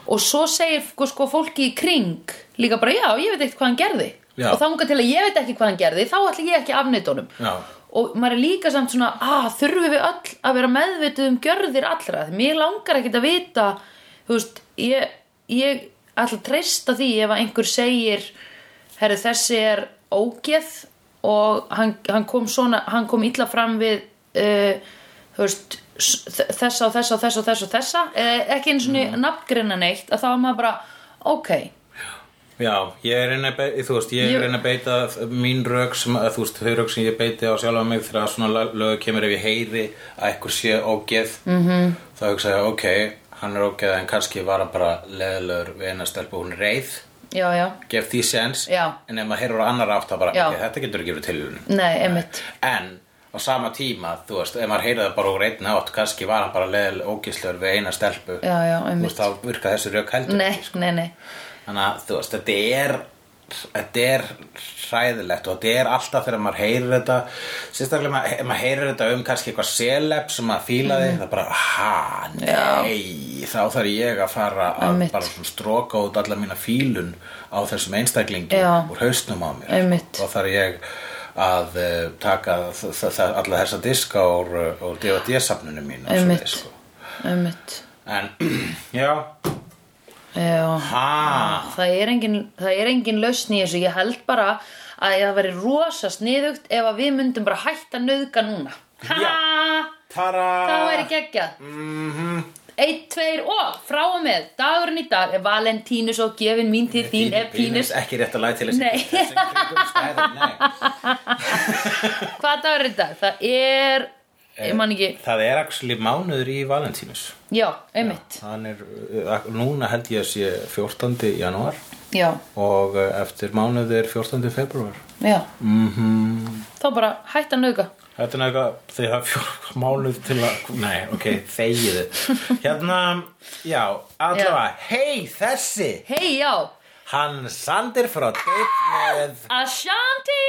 Speaker 2: og svo segir sko, sko fólki í kring líka bara já, ég veit ekkert hvað hann gerði
Speaker 1: Já.
Speaker 2: og þangað til að ég veit ekki hvað hann gerði þá ætla ég ekki að afneita honum
Speaker 1: Já.
Speaker 2: og maður er líka samt svona að þurfum við öll að vera meðvituð um gjörðir allra því mér langar ekkit að vita þú veist, ég, ég ætla að treysta því ef að einhver segir herri þessi er ógeð og hann, hann kom svona hann kom illa fram við uh, þú veist s- þ- þessa og þessa og þessa og þessa og þessa eh, ekki einu svona mm. nafngreina neitt að þá er maður bara ok
Speaker 1: Já, ég er reyna að beita, þú veist, ég
Speaker 2: Ég-
Speaker 1: er reyna að beita mín rök sem, að, þú veist, þau rök sem ég beiti á sjálfa mig þegar svona lag- lög kemur ef ég heyri að eitthvað sé ógeð
Speaker 2: Mhm.
Speaker 1: -hmm. þá hugsa ég, ok, hann er ógeð en kannski var hann bara leðilegur við eina stelpu hún er reið,
Speaker 2: já já,
Speaker 1: gef því sens
Speaker 2: Já.
Speaker 1: en ef maður heyrur á annar átt þá bara,
Speaker 2: Já.
Speaker 1: ok, þetta getur ekki verið tilhjörnum
Speaker 2: nei, emitt
Speaker 1: en á sama tíma, þú veist, ef maður heyrði það bara úr einn átt, kannski var hann bara leðilegur ógeðslegur við eina stelpu
Speaker 2: já já,
Speaker 1: þú veist,
Speaker 2: emitt
Speaker 1: þá virka þessi rök heldur
Speaker 2: nei, nei, nei
Speaker 1: Þannig að þú veist, þetta er þetta er hræðilegt og þetta er alltaf þegar maður heyrir þetta sérstaklega maður, ef maður heyrir þetta um kannski eitthvað seleb sem maður fílaði
Speaker 2: Mhm.
Speaker 1: það er bara, ha, nei þá þarf ég að fara að
Speaker 2: Einmitt.
Speaker 1: bara svona stroka út alla mína fílun á þessum einstaklingi
Speaker 2: Já.
Speaker 1: úr hausnum á mér
Speaker 2: Einmitt.
Speaker 1: og þarf ég að uh, taka þ- þ- þ- alla þessa diska úr, uh, úr DVD-safnunum mínu og
Speaker 2: Einmitt.
Speaker 1: svoleiðis, sko.
Speaker 2: emitt
Speaker 1: en, já,
Speaker 2: já
Speaker 1: ha
Speaker 2: það er engin, það er engin lausn í þessu ég held bara að það væri rosa sniðugt ef að við myndum bara hætta að nauðga núna ha,
Speaker 1: Tara
Speaker 2: það væri geggjað mm
Speaker 1: Mhm.
Speaker 2: -hmm. eitt, tveir og frá og með dagurinn í dag er Valentínus og gefin mín til þín er pínus
Speaker 1: Ekki rétt að læta til þessi
Speaker 2: Nei.
Speaker 1: þessi kringumstæður, nei.
Speaker 2: hvað dagur er í dag? það er
Speaker 1: Eh.
Speaker 2: ég man ekki
Speaker 1: Það er actually mánuður í Valentínus
Speaker 2: já, einmitt,
Speaker 1: Hann er, uh, núna held ég að sé 14. janúar
Speaker 2: já,
Speaker 1: og uh, eftir mánuður 14. februar
Speaker 2: já þá bara hætt að nauðga
Speaker 1: Þetta er eitthvað, þið hafa fjóra mánuð til að, nei, ok, þegiðu Hérna, já, allavega, hei þessi
Speaker 2: hei já,
Speaker 1: Hann Sander frá date með
Speaker 2: Ashanti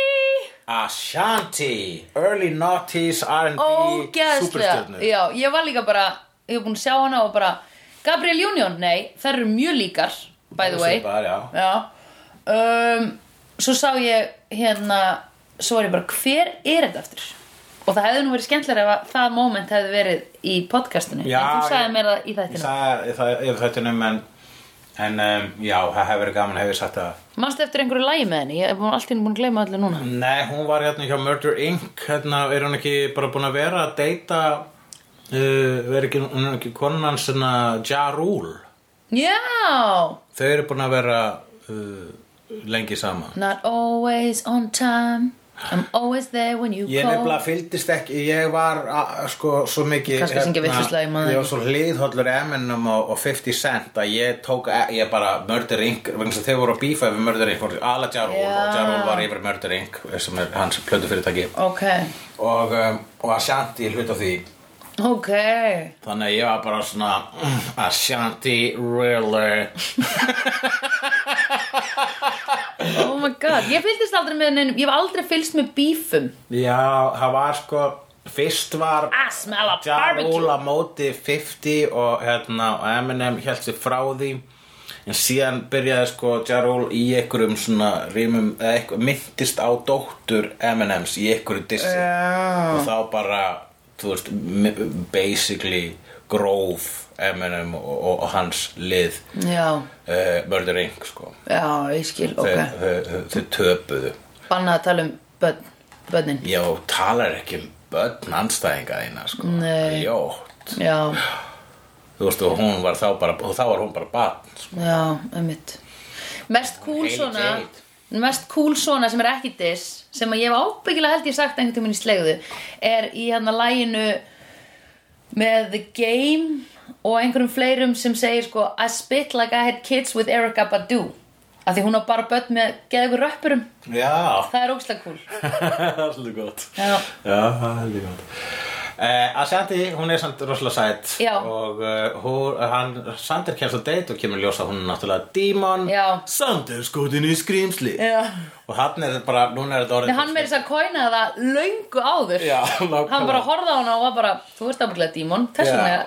Speaker 1: Ashanti Early Noughties R&B
Speaker 2: ógeðslega
Speaker 1: superstjörnu.
Speaker 2: já, ég var líka bara, ég hef búin að sjá hana og bara, Gabriel Union, nei þær eru mjög líkar, by the way
Speaker 1: Svipaðar, já.
Speaker 2: já um, svo sá ég hérna svo var ég bara, hver er þetta aftur og það hefði nú verið skemmtilega ef að það moment hefði verið í podcastinu
Speaker 1: Já,
Speaker 2: en þú sagði
Speaker 1: ég-
Speaker 2: mér það í
Speaker 1: Ég
Speaker 2: þættinu
Speaker 1: sagði það yfir þættunum en, en um, já, það hefur verið gaman hefur sagt að
Speaker 2: manstu eftir einhverju lægi með henni, ég hef búin allt inn búin að gleyma allir núna
Speaker 1: Nei, hún var hérna hjá Murder Inc. Hérna er hún ekki bara búin að vera að deyta uh, er ekki, hún er ekki konan hans hérna Ja Rule
Speaker 2: já,
Speaker 1: Þau eru búin að vera uh, lengi saman
Speaker 2: not always on time I'm always there when you
Speaker 1: Ég
Speaker 2: call
Speaker 1: nefnilega fylgdist ekki, ég var a- sko svo mikið
Speaker 2: Kannski syngja vitlauslega, ég man það
Speaker 1: Ég var
Speaker 2: ekki.
Speaker 1: svo hliðhollur Eminem og, og 50 Cent að ég tók, e- ég bara Murder Inc, vegna þess að þeir voru að bífa yfir Murder Inc, voru ala Jarul og
Speaker 2: Já.
Speaker 1: Jarul var yfir Murder Inc sem er hans plötu fyrirtæki
Speaker 2: ok,
Speaker 1: og, um, og Ashanti er hlut af því
Speaker 2: ok
Speaker 1: þannig að ég var bara svona mm, Ashanti, really
Speaker 2: Oh my god, ég fylgdist aldrei með neinum, ég hef aldrei fylgst með bífum
Speaker 1: Já, það var sko fyrst var
Speaker 2: I smell a
Speaker 1: Ja
Speaker 2: barbecue.
Speaker 1: Rule á móti 50 og hérna og Eminem held sér frá því en síðan byrjaði sko Ja Rule í einhverjum svona rýmum eða eitthvað myndist á dóttur Eminems í einhverju dissi
Speaker 2: Já.
Speaker 1: og þá bara þú veist m- basically gróf Eminem og, og, og hans lið
Speaker 2: Já,
Speaker 1: uh, Murder Inc sko
Speaker 2: já, ég skil,
Speaker 1: þau,
Speaker 2: ok
Speaker 1: þau, þau töpuðu
Speaker 2: Bannað að tala um börn, börnin
Speaker 1: Já, talar ekki um börn anstæðinga þína, sko.
Speaker 2: Nei.
Speaker 1: Ljótt.
Speaker 2: Já,
Speaker 1: Þú veist, og hún var þá bara, og þá var hún bara barn, sko.
Speaker 2: já, einmitt Mest cool
Speaker 1: Heil
Speaker 2: svona
Speaker 1: Jade.
Speaker 2: Mest cool svona sem er ekki diss sem að ég hef ábyggilega held ég sagt einhvern tímann í slegðu er í hérna læginu með The Game og einhverjum fleirum sem segir sko I spit like I had kids with Erika Badu af því hún á bara börn með geðugur röppurum
Speaker 1: Já,
Speaker 2: Það er ógslag cool
Speaker 1: það er svolítið gott.
Speaker 2: Já.
Speaker 1: það er svolítið gott. Uh, að Sandy, hún er samt rosalega sætt
Speaker 2: Já.
Speaker 1: og uh, hún, hann, Sander kemst á date og kemur ljósa hún er náttúrulega dímon
Speaker 2: Já.
Speaker 1: Sander skotin í skrýmsli
Speaker 2: Já.
Speaker 1: og hann er bara, núna er þetta orðið
Speaker 2: Nei, hann meiri þess að kóina það löngu áður
Speaker 1: Já, nákvæmlega.
Speaker 2: Hann bara horfði á hana og var bara Þú ert ábygglega dímon, þess
Speaker 1: Já.
Speaker 2: vegna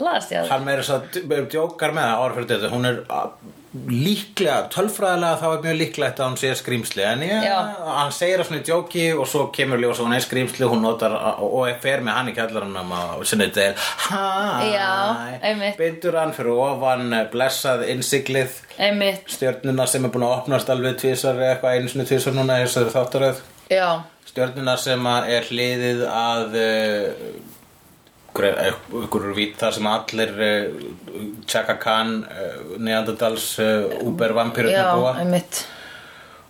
Speaker 2: laðast ég að
Speaker 1: hann meira svo að djókar með það ára fyrir þetta hún er a- líklega, tölfræðilega þá er mjög líklegt að hún sé skrýmsli en ég,
Speaker 2: Já.
Speaker 1: hann segir að svona í djóki og svo kemur ljós að hún er skrýmsli hún notar a- og er fer með hann í kjallarannum og sinni þetta er
Speaker 2: Já,
Speaker 1: hæ,
Speaker 2: einmitt.
Speaker 1: bindur hann fyrir ofan eh, blessað innsiglið
Speaker 2: Einmitt,
Speaker 1: stjörnuna sem er búin að opnast alveg tvisar eða eitthvað einu sinni tvisar núna í þessari þáttaröð
Speaker 2: já,
Speaker 1: stjörnuna sem að er hliðið að eh, ykkur uh, vít þar sem allir uh, Chaka Khan uh, Neandardals uh, Uber
Speaker 2: já,
Speaker 1: vampirutna búa
Speaker 2: einmitt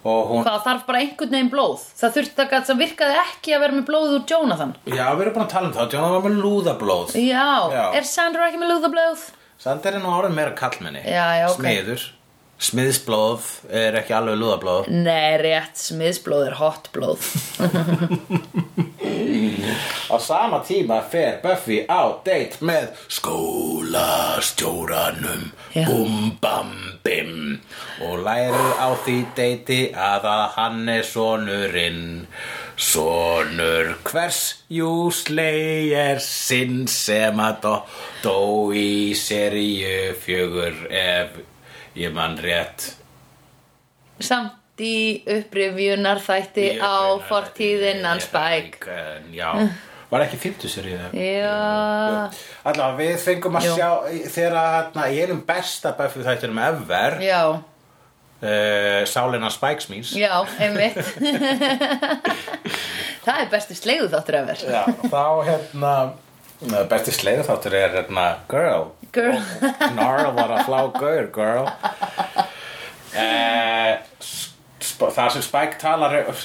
Speaker 1: og hún
Speaker 2: Hvað þarf bara einhvern veginn blóð Það þurfti að það virkaði ekki að vera með blóð úr Jonathan
Speaker 1: Já, við erum búin að tala um það, Jónan var með lúðablóð
Speaker 2: Já,
Speaker 1: Já.
Speaker 2: er Sandra ekki með lúðablóð?
Speaker 1: Samt er nú orðin meira kallmenni
Speaker 2: Já, já, ok.
Speaker 1: Smiður, smiðsblóð er ekki alveg lúðablóð
Speaker 2: Nei, rétt, smiðsblóð er hot blóð
Speaker 1: Á sama tíma fer Buffy á date með skólastjóranum
Speaker 2: Já.
Speaker 1: Bum bam bim Og lærir á því deiti að að hann er sonurinn Sonur hvers jú slegir sinn sem að dó, dó í seríu fjögur ef ég mann rétt
Speaker 2: Samt í upprifjunar þætti
Speaker 1: Ég-
Speaker 2: á
Speaker 1: ég-
Speaker 2: fortíðinnan
Speaker 1: ég-
Speaker 2: spæk
Speaker 1: en Já, var ekki 50 seríu það?
Speaker 2: Já,
Speaker 1: Allá, við fengum að
Speaker 2: Jú.
Speaker 1: sjá þegar að hérna, ég er um besta Buffy þættinum ever yeah.
Speaker 2: já
Speaker 1: uh, Sálinna Spikes Means
Speaker 2: Já, einmitt Það er besti slegðu þáttur efer
Speaker 1: Já, þá hérna eh, besti sleiðu þáttur er hérna Girl,
Speaker 2: Girl.
Speaker 1: Gnarl var að flá gaur Girl uh, Eh, Sp- þar sem Spike talar upp,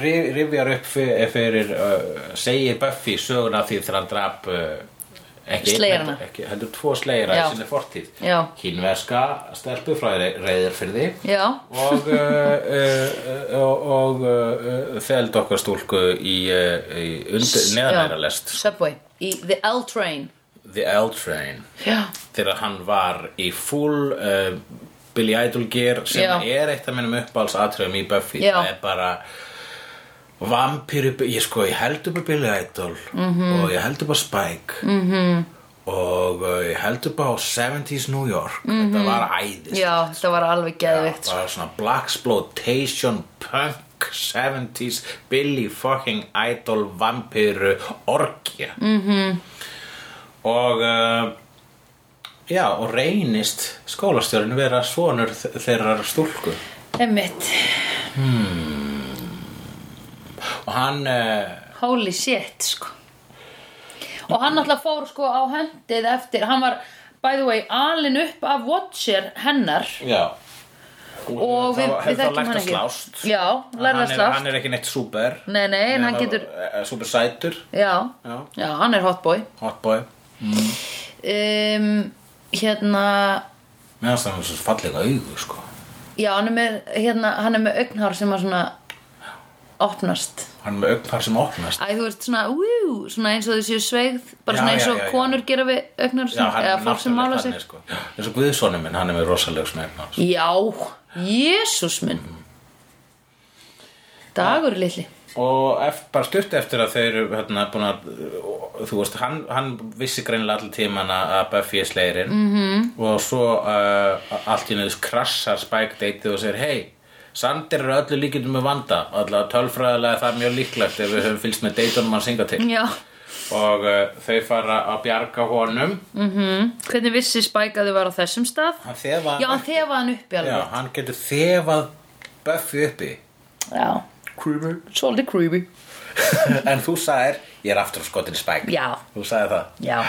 Speaker 1: rif- rifjar upp fyrir, fyrir uh, segir Buffy söguna af því þegar hann drap uh, ekki, einn,
Speaker 2: Slayerana.
Speaker 1: heldur- ekki, heldur tvo sleira í
Speaker 2: Já.
Speaker 1: sinni fortíð
Speaker 2: Já.
Speaker 1: kínverska stelpu frá reyðarfyrði
Speaker 2: Já.
Speaker 1: og, uh, uh, uh, og uh, þeld okkar stúlku í, uh, í undir, neðanæra lest sko.
Speaker 2: Subway, í The L Train
Speaker 1: The L-Train
Speaker 2: Já,
Speaker 1: þegar hann var í full uh, Billy Idol gear sem
Speaker 2: Já.
Speaker 1: er eitt af minnum uppáhalds atriðum í Buffy
Speaker 2: Já.
Speaker 1: það er bara vampíru, ég sko, ég held upp á Billy Idol
Speaker 2: Mhm.
Speaker 1: -hmm. og ég held upp á Spike mm -hmm. og uh, ég held upp á 70s New York
Speaker 2: Mhm.
Speaker 1: þetta var æðist
Speaker 2: já þetta var alveg geðvikt
Speaker 1: bara svona blaxploitation punk 70s Billy fucking Idol vampiru orkja mm -hmm.
Speaker 2: Mhm.
Speaker 1: og uh, já og reynist skólastjórinn vera sonur þ- þeirrar stúlku
Speaker 2: sko. Emmitt,
Speaker 1: og hann uh,
Speaker 2: holy shit sko Og hann alltaf fór sko á höndið eftir Hann var, by the way, alin upp af Watcher hennar
Speaker 1: já
Speaker 2: Og við,
Speaker 1: þá, þá
Speaker 2: við þekkjum
Speaker 1: lært
Speaker 2: hann
Speaker 1: að
Speaker 2: ekki
Speaker 1: slást
Speaker 2: Já,
Speaker 1: hann,
Speaker 2: lærði að
Speaker 1: er,
Speaker 2: slást
Speaker 1: hann er ekki neitt super
Speaker 2: Nei, nei, en hann getur
Speaker 1: super sætur
Speaker 2: Já,
Speaker 1: Já.
Speaker 2: já hann er hotboy
Speaker 1: hotboy
Speaker 2: um, Hérna
Speaker 1: meðan það er svo fallega augu sko
Speaker 2: Já, hann er með, hérna, hann er með augnhár sem að svona opnast
Speaker 1: hann er með augnpar sem opnast
Speaker 2: Æ, þú veist svona, ú, svona eins og þau séu sveigð bara
Speaker 1: Já,
Speaker 2: svona
Speaker 1: já,
Speaker 2: eins og
Speaker 1: já, já.
Speaker 2: konur gera við augnhár
Speaker 1: Já,
Speaker 2: sem,
Speaker 1: hann
Speaker 2: eða
Speaker 1: er
Speaker 2: fólk sem
Speaker 1: náttúrulega
Speaker 2: mála sig
Speaker 1: þannig, sko. eins og Guðssonum minn, hann er með rosaleg smegna
Speaker 2: Já, Jésús minn Dagur litli
Speaker 1: og ef, bara stutt eftir að þau eru hérna, búin að þú veist, hann, hann vissi greinilega allir tíman að Buffy er sleirin
Speaker 2: Mhm.
Speaker 1: -hmm. og svo uh, allt í neðus krassar Spike deitið og segir hei Sander eru öllu líkindum með vanda alltaf tölfræðilega það er mjög líklegt ef við höfum fylgst með deitunum að synga til
Speaker 2: Já,
Speaker 1: og uh, þau fara að bjarga honum
Speaker 2: Mm. hvernig vissi Spike að þau var á þessum stað?
Speaker 1: hann þefa
Speaker 2: Já, hann þefa hann uppi
Speaker 1: já,
Speaker 2: alveg
Speaker 1: hann getur þefað Buffy uppi
Speaker 2: Já,
Speaker 1: Creeper
Speaker 2: svolítið creepy
Speaker 1: En þú sagðir, ég er aftur skotin spæk
Speaker 2: Já.
Speaker 1: Þú sagði það
Speaker 2: Já,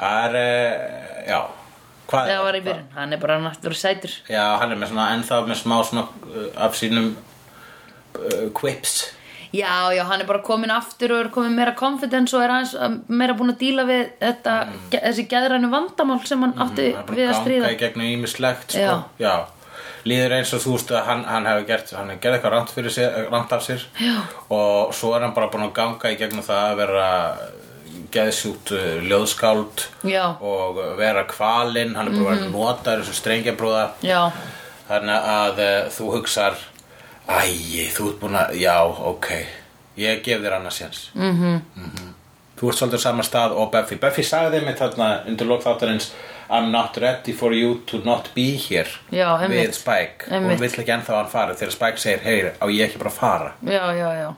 Speaker 1: Það er, uh, já Hvað
Speaker 2: það var í byrjun, hann er bara náttúrulega sætur
Speaker 1: Já, hann er með svona, ennþá með smá svona uh, af sínum uh, quips
Speaker 2: Já, já, hann er bara komin aftur og er komin meira confidence og er aðeins um, meira búin að díla við þetta, ge þessi geðrænu vandamál sem hann átti
Speaker 1: Mm. Hann er búin
Speaker 2: við að stríða.
Speaker 1: ganga í gegnum ímislegt sko.
Speaker 2: Já.
Speaker 1: Líður eins og þú veist að hann, hann hefur gert, hann hefur gerð eitthvað rangt, fyrir sér, eh, rangt af sér já. og svo er hann bara búin að ganga í gegnum það að vera geðsjútt uh, ljóðskáld
Speaker 2: Já. Mhm.
Speaker 1: og vera kvalinn, hann er búin að vera notaður eins og strengjabróða
Speaker 2: Já,
Speaker 1: Þannig að uh, þú hugsar Æi, þú ert búin að Já, ok, ég gef þér annars jens mm -hmm.
Speaker 2: Mhm.
Speaker 1: Þú ert svolítið á sama stað og Buffy Buffy sagði þeim mitt þarna undir lok þáttarins I'm not ready for you to not be here
Speaker 2: Já, einmitt.
Speaker 1: Við Spike
Speaker 2: Einmitt.
Speaker 1: Og vill ekki ennþá að hann fara Þegar Spike segir, heyr, á ég ekki bara að fara
Speaker 2: já, já, já,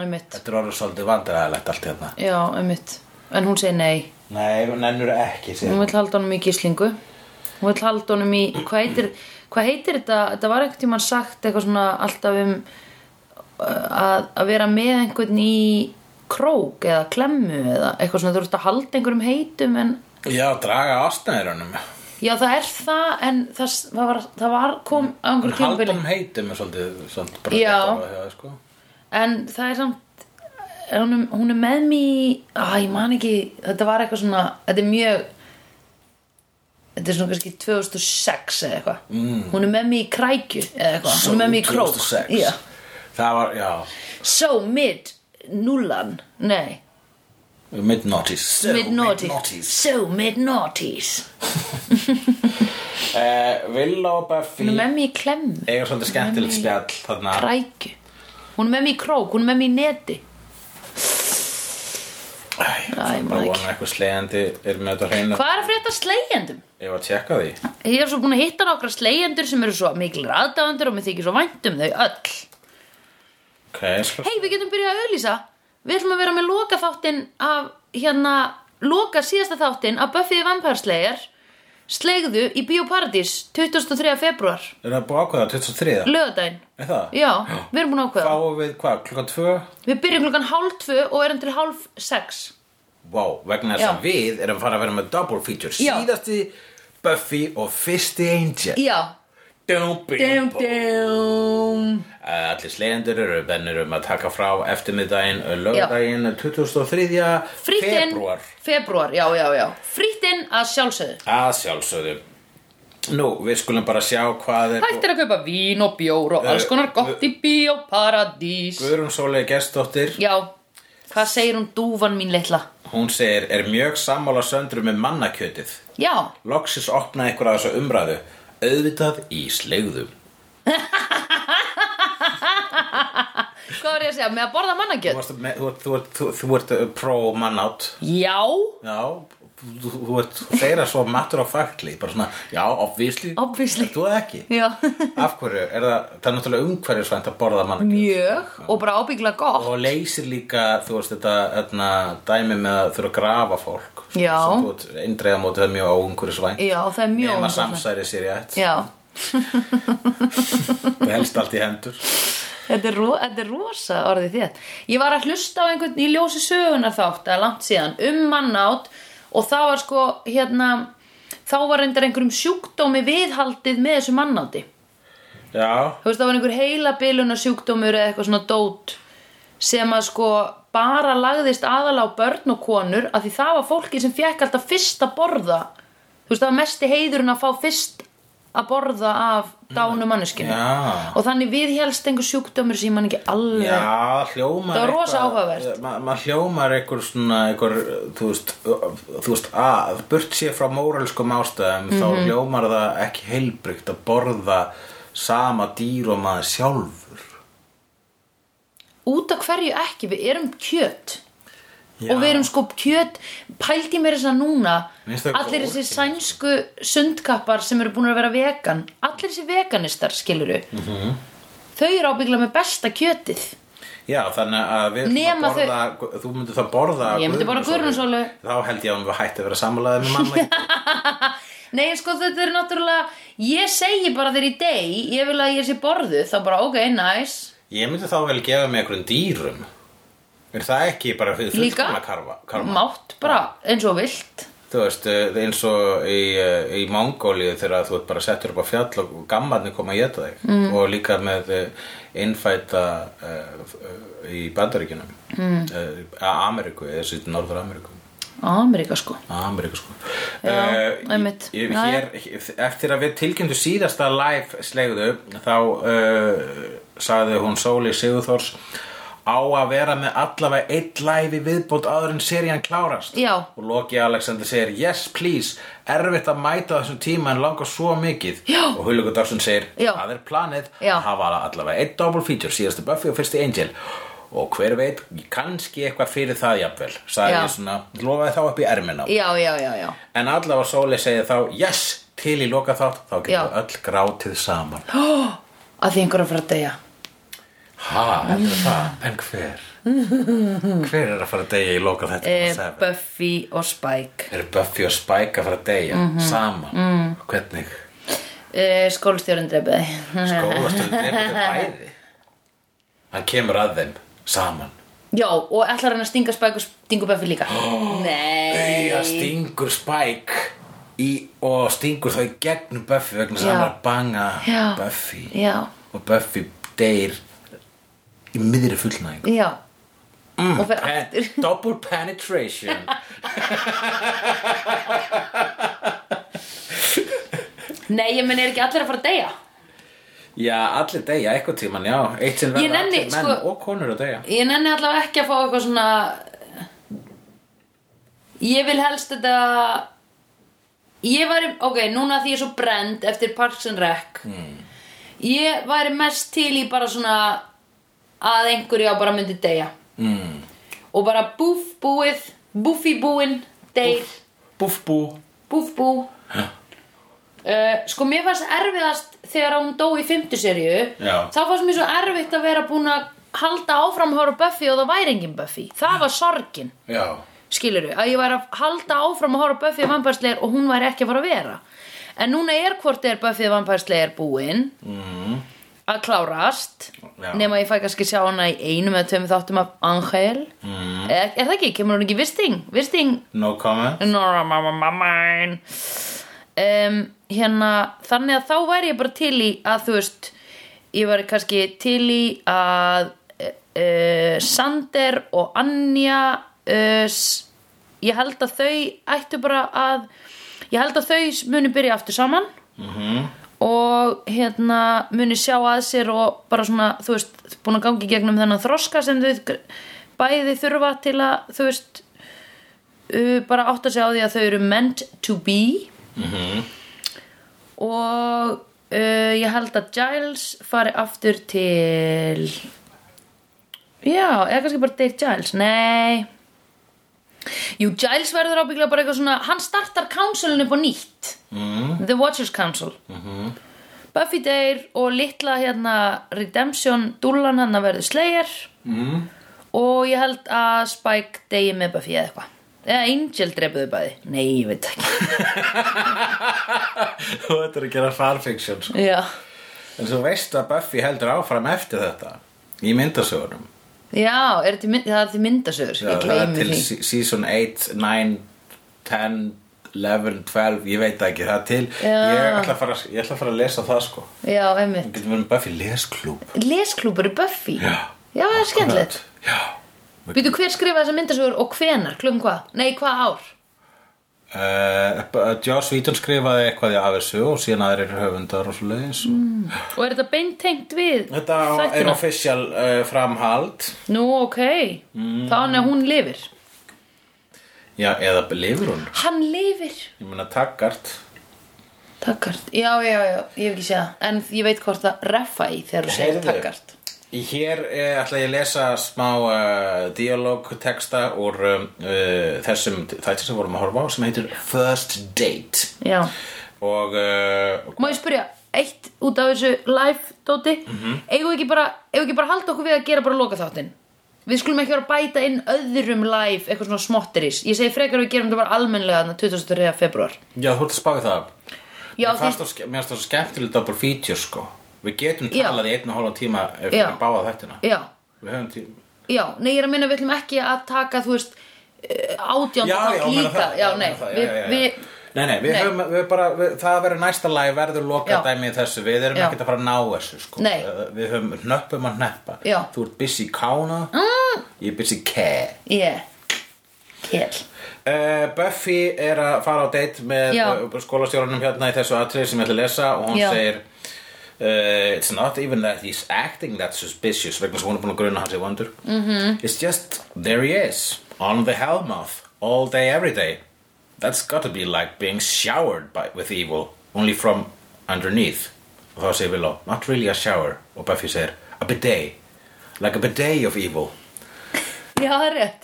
Speaker 2: einmitt,
Speaker 1: Þetta er orðið svolítið vandræðalegt allt hérna
Speaker 2: já, einmitt, en hún segir nei,
Speaker 1: Nei, hún nennur ekki segir.
Speaker 2: hún vill halda honum í gíslingu, hún vill halda honum í, hvað heitir, hvað heitir þetta, þetta var einhvern tímann sagt eitthvað svona alltaf um uh, að, að vera með einhvern í krók eða klemmu eða eitthvað svona, þú ert að halda einhverjum heitum en
Speaker 1: Já, draga ástæðurunum
Speaker 2: Já, það er það, en það, s- það, var, það var kom á einhverjum tímabili.
Speaker 1: Haldum heitum er svolítið, svolítið bara
Speaker 2: Já.
Speaker 1: rétt orðað hjá þér, sko.
Speaker 2: En það er samt, er hún, hún er með mér í, á, ég man ekki, þetta var eitthvað svona, þetta er mjög, þetta er svona kannski 2006 eða eitthvað. Mm. Hún er með mér í krækju eða eitthvað, hún er með mér í krók.
Speaker 1: 2006.
Speaker 2: Já.
Speaker 1: Það var, já
Speaker 2: So mid, nullan, nei,
Speaker 1: Mid-noughties so,
Speaker 2: mid noughties. So mid noughties.
Speaker 1: uh, Villa og Buffy
Speaker 2: Hún er með mér í klemmu,
Speaker 1: eiga svolítið skemmtilegt spjall þarna
Speaker 2: krækju. Hún er með mér í krók, hún er með mér í neti.
Speaker 1: Æ,
Speaker 2: Æ,
Speaker 1: Það
Speaker 2: maður
Speaker 1: bara
Speaker 2: ekki.
Speaker 1: vonar eitthvað slegandi er með þetta hreinu
Speaker 2: Hvað er að frétta af slegjendum?
Speaker 1: Ég var að tjekka því
Speaker 2: Ég er svo búin að hitta nokkra slegjendur sem eru svo miklir aðdáðandur og mér þykir svo vænt um þau öll.
Speaker 1: okay, svo...
Speaker 2: Hei, við getum byrjað að auðlýsa. Við ætlum að vera með loka þáttinn af, hérna, loka síðasta þáttinn af Buffy the Vampire Slayer slegðu í Bíóparadís 23. februar,
Speaker 1: Er það búið að ákveða 23?
Speaker 2: lögadaginn.
Speaker 1: Er það?
Speaker 2: Já, við erum búin að ákveða.
Speaker 1: Fáum við hvað, klukkan 2?
Speaker 2: Við byrjum klukkan hálf tvö og erum til hálf sex.
Speaker 1: Vá, vegna þess
Speaker 2: Já.
Speaker 1: að við erum fara að vera með double feature
Speaker 2: Já.
Speaker 1: Síðasti Buffy og fyrsti Angel
Speaker 2: Já,
Speaker 1: Dum, bing,
Speaker 2: Dum,
Speaker 1: bom.
Speaker 2: dum.
Speaker 1: Eh, Allir slegjendur eru bennir um að taka frá eftirmiðdaginn, eh, lögdaginn, 23.
Speaker 2: Frýttinn
Speaker 1: februar
Speaker 2: Februar, já, já, já Frýttinn að sjálfsögðu
Speaker 1: að sjálfsögðu. Nú, við skulum bara sjá hvað er...
Speaker 2: Hægt er að kaupa vín og bjór og alls konar gott í bíóparadís
Speaker 1: Guðrún Sólei Gestóttir,
Speaker 2: Já, hvað segir hún dúfan mín litla?
Speaker 1: hún segir, er mjög sammála söndru með mannakjötið.
Speaker 2: Já,
Speaker 1: Loksis opnaði ykkur að þessu umræðu, auðvitað í slegðum.
Speaker 2: hvað var ég að segja? Með að borða
Speaker 1: Þú
Speaker 2: mannakjöt?
Speaker 1: varst með- þú ert- þú ert- þú- þú ert uh, pro mannátt.
Speaker 2: Já,
Speaker 1: Já, þú þú ert þeirra svo matur á fakli, bara svona, já, obvísli.
Speaker 2: Obviously.
Speaker 1: Þú það ekki.
Speaker 2: já
Speaker 1: Af hverju? Er það, það er náttúrulega umhverfisvænt að borða mann
Speaker 2: Mjög og bara ábyggla gott
Speaker 1: og leysir líka, þú veist, þetta öðna, dæmi með að þurfa að grafa fólk.
Speaker 2: Já.
Speaker 1: Svo Þú ert eindreiða mótið það er mjög óumhverfisvænt.
Speaker 2: Já, það er mjög
Speaker 1: Ef maður
Speaker 2: óumhverfisvænt.
Speaker 1: samsæri sér í ætt.
Speaker 2: Já,
Speaker 1: Þú helst allt í hendur.
Speaker 2: þetta er, ro þetta er rosa orðið þétt Ég var að hlusta á einhvern í ljósi sögunar þátt eða langt síðan um mannátt og það var sko hérna þá var reyndar einhverjum sjúkdómi viðhaldið með þessu mannátti
Speaker 1: Já,
Speaker 2: Þú veist, það var einhver heilabiluna sjúkdómur eða eitthvað svona dót sem að sko bara lagðist aðal á börn og konur af því það var fólkið sem fekk alltaf fyrst að borða. Þú veist, það var mesti heiðurinn að fá fyrst að borða af dánu manneskinu.
Speaker 1: já.
Speaker 2: Og þannig við helst einhver sjúkdómur sem ég man ekki alveg.
Speaker 1: Já, hljómar
Speaker 2: Það var rosa
Speaker 1: eitthvað- Eh,
Speaker 2: áhugavert.
Speaker 1: ma- Maður hljómar einhver svona einhver, þú veist, ö- þú veist að burt sér frá móralskum ástæðum
Speaker 2: Mhm.
Speaker 1: þá hljómar það ekki heilbrygt að borða sama dýr og maður sjálfur
Speaker 2: Út af hverju ekki, við erum kjöt.
Speaker 1: Já.
Speaker 2: Og við erum sko kjöt, pældi mér þess að núna,
Speaker 1: Mér finnst það
Speaker 2: allir
Speaker 1: ógeðslegt.
Speaker 2: þessi sænsku sundkappar sem eru búin að vera vegan, allir þessi veganistar skiluru,
Speaker 1: Mhm.
Speaker 2: þau eru ábyggla með besta kjötið.
Speaker 1: Já, þannig að við
Speaker 2: Nema
Speaker 1: þú borða, þú myndir það borða
Speaker 2: Ég myndi borða
Speaker 1: Guðrúnarsólu.
Speaker 2: Guðrúnarsólu.
Speaker 1: Þá held ég að hún var hætti að vera samlaðið með manna
Speaker 2: Nei, en sko þetta er náttúrulega, ég segi bara þér í deg, ég vil að ég sé borðuð, þá bara ok, nice.
Speaker 1: Ég myndi þá vel gefa mig einhverjum dýrum Er það ekki bara fyrir
Speaker 2: Líka,
Speaker 1: fullkomna karfa? karma?
Speaker 2: mátt bara eins og vilt.
Speaker 1: Þú veist, eh, eins og í, eh, í Mongóliu þegar þú ert bara settur upp á fjall og gammarnir koma að geta þig mm. og líka með eh, innfæta uh, í Bandaríkjunum mm. uh, Ameríku, eða sýtt Norður Ameríku
Speaker 2: Ameríka sko.
Speaker 1: Ameríku sko
Speaker 2: Já,
Speaker 1: Eh,
Speaker 2: einmitt.
Speaker 1: ég-
Speaker 2: Já, já.
Speaker 1: hér, Eftir að við tilkynntu síðasta live slegðu þá uh, sagði hún Sóli Sigurþórs á að vera með allavega eitt live í viðbót áður en serían klárast
Speaker 2: Já.
Speaker 1: og Loki Alexander segir yes please, erfitt að mæta á þessum tíma en langar svo mikið
Speaker 2: Já.
Speaker 1: og Hulugur Dagsson segir,
Speaker 2: Já.
Speaker 1: það er planið
Speaker 2: Já.
Speaker 1: að hafa allavega eitt double feature síðastu Buffy og fyrsti Angel og hver veit, kannski eitthvað fyrir það jafnvel, sagði
Speaker 2: Já.
Speaker 1: ég svona lofaði þá upp í ermina
Speaker 2: Já, já, já, já.
Speaker 1: en allavega Sóli segir þá yes, til í loka þátt þá getum
Speaker 2: Já.
Speaker 1: við öll grátið saman
Speaker 2: Að því einhverja fara að deyja.
Speaker 1: ha, þetta er það, en hver hver er að fara að deyja í loka þetta
Speaker 2: E, Buffy og Spike.
Speaker 1: er Buffy og Spike að fara að deyja
Speaker 2: Mhm.
Speaker 1: saman,
Speaker 2: Mm.
Speaker 1: hvernig
Speaker 2: E, Skólstjórinn drefiði.
Speaker 1: skólastjóri drefur þau bæði hann kemur að þeim saman
Speaker 2: Já, og ætlar hann að stinga Spike og stinga Buffy líka. Nei.
Speaker 1: auða stingur Spike í, og stingur þau gegnum Buffy vegna þess að
Speaker 2: Já.
Speaker 1: hann er að banga
Speaker 2: Já.
Speaker 1: Buffy
Speaker 2: Já,
Speaker 1: og Buffy deyr í miðri fullnæðingu
Speaker 2: já. og fer
Speaker 1: Pen-
Speaker 2: aftur.
Speaker 1: double penetration
Speaker 2: Nei, ég menn er ekki allir að fara að deyja.
Speaker 1: já allir deyja eitthvað tíman já eitt sem
Speaker 2: Ég
Speaker 1: verða
Speaker 2: nenni,
Speaker 1: allir menn
Speaker 2: sko-
Speaker 1: og konur að deyja
Speaker 2: Ég nenni allavega ekki að fá eitthvað svona Ég vil helst þetta Ég væri, ok, núna því ég er svo brend eftir Parks and Rec Ég væri mest til í bara svona að einhverju á bara myndi deyja mm. og bara búf búið búfi búinn, deyr
Speaker 1: búf bú
Speaker 2: búf bú uh, sko mér fannst erfiðast þegar hún dó í fymtu serju
Speaker 1: Já.
Speaker 2: þá fannst mér svo erfitt að vera búin að halda áfram að horfa á Buffy og það væri engin Buffy það var sorgin,
Speaker 1: já
Speaker 2: skilur að ég væri að halda áfram að horfa á Buffy vampærsleir og hún væri ekki að fara að vera en núna er hvort er Buffy vampærsleir búin mm. að klárast
Speaker 1: Mhm. Já.
Speaker 2: nema ég fæ kannski sjá hana í einum eða tveimur þáttum af Angel
Speaker 1: Mhm.
Speaker 2: mm. er, er það ekki, kemur hún ekki visting, visting
Speaker 1: no comment
Speaker 2: Nora mamma mamma um, hérna, þannig að þá væri ég bara til í að þú veist, ég væri kannski til í að uh, Sander og Anja uh, s- ég held að þau ættu bara að ég held að þau muni byrja aftur saman og hérna muni sjá að sér og bara svona, þú veist, búin að gangi gegnum þennan þroska sem þau gr- bæði þurfa til að, þú veist uh, bara átta sig á því að þau eru meant to be og uh, ég held að Giles fari aftur til já, eða kannski bara deyr Giles, nei Jú, Giles verður ábygglega bara eitthvað svona hann startar councilin upp á nýtt mm. The Watchers Council -hmm. Buffy deyr og litla hérna Redemption dúllan hann verður Slayer mm. og ég held að Spike deyji með Buffy eða eitthvað eða Angel drepuðu bæði nei, ég veit ekki
Speaker 1: Þú þetta er að gera farfiction sko.
Speaker 2: já,
Speaker 1: En svo veist að Buffy heldur áfram eftir þetta Í myndasögunum
Speaker 2: já er til, mynd- það er til myndasögur
Speaker 1: Já, það
Speaker 2: ég
Speaker 1: er
Speaker 2: gleymi
Speaker 1: til
Speaker 2: því
Speaker 1: se- season 8, 9, 10, 11, 12 Ég veit það ekki, það er til
Speaker 2: Já.
Speaker 1: ég ætla, að fara, ég ætla að fara að lesa það sko
Speaker 2: já, einmitt
Speaker 1: Við getum verið um Buffy lesklúb
Speaker 2: lesklúpur er Buffy
Speaker 1: Já.
Speaker 2: já það er skemmtilegt
Speaker 1: Já
Speaker 2: Býtu hver skrifa þessar myndasögur og hvenar, klum hvað? Nei, hvað ár?
Speaker 1: Uh, Joss Whedon skrifaði eitthvað í af þessu og síðan aðrir höfundar og svo leiðis mm.
Speaker 2: Og er þetta beintengt við
Speaker 1: Þetta er
Speaker 2: þættina?
Speaker 1: official uh, framhald
Speaker 2: Nú, ok,
Speaker 1: Mm.
Speaker 2: þannig að hún lifir
Speaker 1: Já, eða lifur hún
Speaker 2: Hann lifir
Speaker 1: Ég meina takkart
Speaker 2: Takkart, já, já, já, ég hef ekki séð það En ég veit hvort það reffa í þegar þú segir
Speaker 1: Heyrðu.
Speaker 2: takkart
Speaker 1: Í Hér eh, ætla ég að lesa smá uh, dialogtexta úr um, uh, þessum þætti sem vorum að horfa á sem heitir First Date
Speaker 2: Já,
Speaker 1: og uh,
Speaker 2: má ég spyrja Eitt út af þessu live, Dóti mm
Speaker 1: Mhm.
Speaker 2: -hmm. Eigum við ekki bara, eigum við ekki bara að halda okkur við að gera bara loka þáttinn Við skulum ekki vera að bæta inn öðrum live Eitthvað svona smotteris Ég segi frekar að við gerum þetta bara almennlega þarna 23. februar
Speaker 1: já, þú ert að spá í það
Speaker 2: Já,
Speaker 1: Mér
Speaker 2: því,
Speaker 1: fannst það- mér fannst það svo skemmtilegt double feature sko Við getum
Speaker 2: Já.
Speaker 1: talað í einn og hálfa tíma ef við hérna.
Speaker 2: Já.
Speaker 1: báða þættina
Speaker 2: já,
Speaker 1: Við höfum tíma
Speaker 2: Já, nei, ég er að minna við ætlum ekki að taka, þú veist, átjánda
Speaker 1: Já, já,
Speaker 2: þátt
Speaker 1: meina
Speaker 2: líka.
Speaker 1: það,
Speaker 2: Já,
Speaker 1: meina
Speaker 2: nei,
Speaker 1: það, já,
Speaker 2: við,
Speaker 1: já, já.
Speaker 2: við,
Speaker 1: Nei, nei, við
Speaker 2: Nei.
Speaker 1: höfum, við bara, við, það verður næsta lag verður loka
Speaker 2: Já.
Speaker 1: dæmi í þessu, við erum
Speaker 2: Já.
Speaker 1: ekkert að fara að ná þessu sko.
Speaker 2: Nei.
Speaker 1: Eh, Við höfum hnöppum að hneppa
Speaker 2: Já.
Speaker 1: Þú ert busy kána, mm. ég er busy kæ
Speaker 2: ég, kell.
Speaker 1: uh, Buffy er að fara á date með
Speaker 2: Já.
Speaker 1: uh, skólastjórunum hérna í þessu atrið sem ég ætla að lesa og hún
Speaker 2: Já.
Speaker 1: segir Uh, it's not even that he's acting that suspicious vegna sem hún er búin að gruna hans í vondur mm -hmm.
Speaker 2: Mhm.
Speaker 1: It's just, there he is on the hellmouth, all day every day That's gotta be like being showered by, with evil only from underneath og þá segir Willow, not really a shower og Buffy segir, a bidet like a bidet of evil
Speaker 2: Já, það er rétt.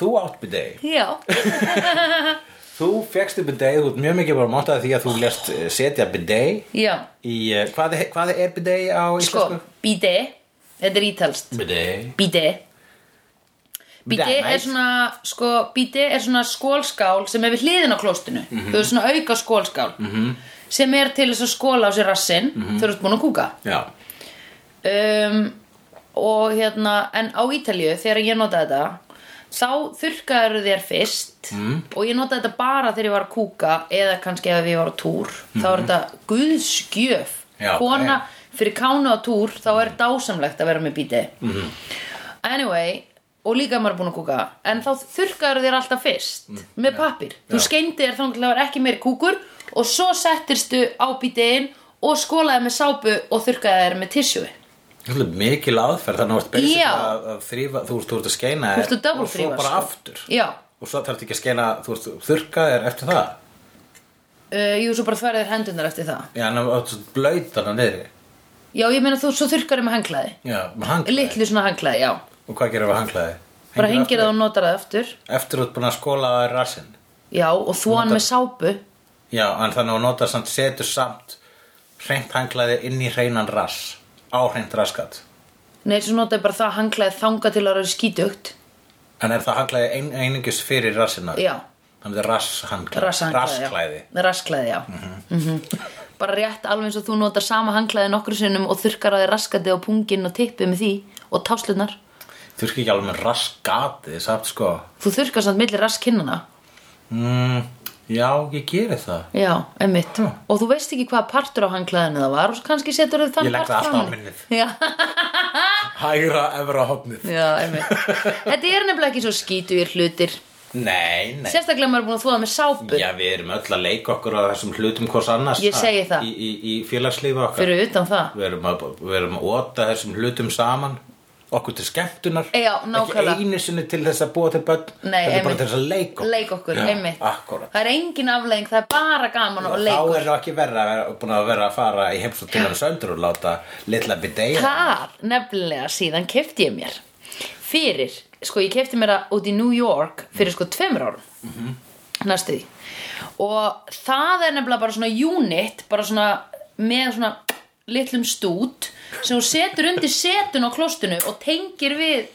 Speaker 1: Þú átt bidet
Speaker 2: Já,
Speaker 1: Þú fegst upp bidet, þú ert mjög mikið bara mótaði því að þú lest eh, setja bidet
Speaker 2: já,
Speaker 1: í, eh, hvað, er- hvað er bidet á
Speaker 2: sko,
Speaker 1: íslensku?
Speaker 2: bíti, þetta er ítalst,
Speaker 1: Bidet
Speaker 2: bíti. Bíti
Speaker 1: Bidet,
Speaker 2: er
Speaker 1: mate.
Speaker 2: svona, sko, bíti er svona skólskál sem er við hliðin á klóstinu. Þú veist svona auka skólskál sem er til þess að skóla á sér rassinn þegar þú ert búin að kúka.
Speaker 1: Já,
Speaker 2: um, og hérna en á Ítalíu þegar ég notaði þetta þá þurrkaður þér fyrst mm. og ég notaði þetta bara þegar ég var að kúka eða kannski ef ég var á túr þá er þetta guðskjöf
Speaker 1: Mhm. Já, Mhm.
Speaker 2: kona
Speaker 1: já.
Speaker 2: fyrir kána á túr þá er dásamlegt að vera með bíti
Speaker 1: Mhm.
Speaker 2: mm. anyway og líka ef maður er búin að kúka en þá þurrkaður þér alltaf fyrst með pappir, þú
Speaker 1: Mm. Já.
Speaker 2: skeindi þér þannig að það var ekki meiri kúkur og svo settirstu á bítiðin og skólaði með sápu og þurrkaði þér með tissue
Speaker 1: þú ert mikil aðferð þannig að þú ert basic
Speaker 2: Já.
Speaker 1: að, að þrýfa, þú ert, þú ert að skeina
Speaker 2: Þú ert að double
Speaker 1: og svo
Speaker 2: þrífa,
Speaker 1: bara
Speaker 2: sko.
Speaker 1: aftur
Speaker 2: Já,
Speaker 1: og svo þarf ekki að skeina, þú ert þurrka þér eftir það
Speaker 2: uh, jú, svo bara þverðir hendunar eftir það
Speaker 1: Já, en þú ert svo blöyt þannig niðri
Speaker 2: Já, ég meina þú, svo þurrkar ég með hanglaði
Speaker 1: Já, með hanglaði
Speaker 2: Litlu svona hanglaði, já
Speaker 1: Og hvað gerir við hanglaði?
Speaker 2: Bara hengir það og notar það aftur
Speaker 1: Eftir þú ert búin að skóla á þér rassinn
Speaker 2: Já, og þú hann með sápu
Speaker 1: Já, en þannig að nota samt setur samt hreint hanglaði inn í hreinan rass á hreint raskat
Speaker 2: Nei, svo notaði bara það hanglaði þanga til að vera skítugt
Speaker 1: en er það hanglaði ein, einungis fyrir rassina
Speaker 2: Já,
Speaker 1: þannig að rasshanglaði
Speaker 2: rassanglaði
Speaker 1: rassklæði
Speaker 2: Rasklæði, já mm
Speaker 1: Mhm.
Speaker 2: -hmm. Bara rétt alveg eins og þú notar sama hanglaði nokkru sinnum og þurrkar að þið raskatið á punginn og tippið með því og táslunar
Speaker 1: þú er ekki alveg með rassgatið samt sko
Speaker 2: Þú þurrkar samt milli raskinnana
Speaker 1: mm, Já, ég geri það.
Speaker 2: Já, einmitt.
Speaker 1: Huh.
Speaker 2: Og þú veist ekki hvaða partur á hanglaðinu það var og svo kannski setur þau þann
Speaker 1: Ég legg
Speaker 2: part
Speaker 1: það alltaf á
Speaker 2: framan í.
Speaker 1: minnið.
Speaker 2: Já,
Speaker 1: Hægra efra hopnið.
Speaker 2: já, einmitt. Þetta er nefnilega ekki svo skítugir hlutir.
Speaker 1: Nei, nei.
Speaker 2: Sérstaklega maður er búin að þvoða með sápu.
Speaker 1: Já, við erum öll að leika okkur á þessum hlutum hvors annars.
Speaker 2: Ég segi það.
Speaker 1: Í, í, í félagslífa okkar.
Speaker 2: Fyrir utan það.
Speaker 1: Við erum að, við erum að óta þessum hlutum saman. Okkur til skemmtunar.
Speaker 2: Já, nákvæmlega.
Speaker 1: Ekki einu sinni til þess að búa til börn.
Speaker 2: Nei,
Speaker 1: Þetta er bara
Speaker 2: einmitt.
Speaker 1: til þess að leika okkur.
Speaker 2: Leik okkur,
Speaker 1: Já,
Speaker 2: einmitt.
Speaker 1: akkúrat.
Speaker 2: Það er engin aflegging, það er bara gaman og
Speaker 1: Þá
Speaker 2: leikur.
Speaker 1: er það ekki verra að vera, búin að vera að fara í heimsótt til hans öndur og láta litla bideyja.
Speaker 2: Þar nefnilega síðan kefti ég mér. Fyrir, sko ég kefti mér það út í New York fyrir sko tveimur árum. Mm
Speaker 1: Mhm.
Speaker 2: Næstu því. Og það er nefnilega bara svona unit, bara svona með svona litlum stút sem þú setur undir setun á klostinu og tengir við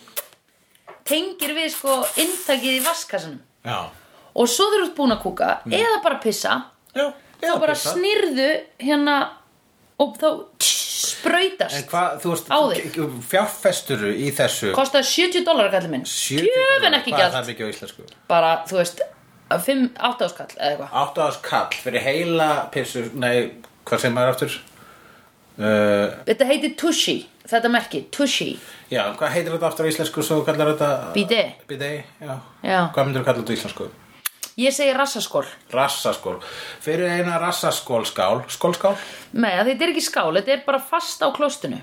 Speaker 2: tengir við sko inntakið í vaskassanum.
Speaker 1: Já.
Speaker 2: Og svo þurfum búin að kúka eða bara pissa
Speaker 1: Já, já.
Speaker 2: og bara
Speaker 1: Mm. pissa.
Speaker 2: snýrðu hérna og þá sprautast
Speaker 1: En hvað, þú veist,
Speaker 2: Á þig.
Speaker 1: fjárfesturu í þessu
Speaker 2: kostaði 70 dólar kallið minn
Speaker 1: 70
Speaker 2: gjöfin ekki
Speaker 1: Hvað er
Speaker 2: gjald
Speaker 1: það mikið á íslensku?
Speaker 2: bara þú veist 5-8 áskall eða eitthvað
Speaker 1: Áttu aðs kall fyrir heila pissu, nei, hvað segir maður aftur? Uh,
Speaker 2: þetta heiti Tushy, þetta merki Tushy,
Speaker 1: já, hvað heitir þetta aftur á íslensku svo þú kallar þetta?
Speaker 2: Bidet.
Speaker 1: Bidet, já.
Speaker 2: Já.
Speaker 1: Hvað myndir þú kalla þetta á íslensku?
Speaker 2: ég segi rassaskól
Speaker 1: Rassaskól. Fyrir eina rassaskólskál, skólskál,
Speaker 2: með að þetta er ekki skál, þetta er bara fast á klóstinu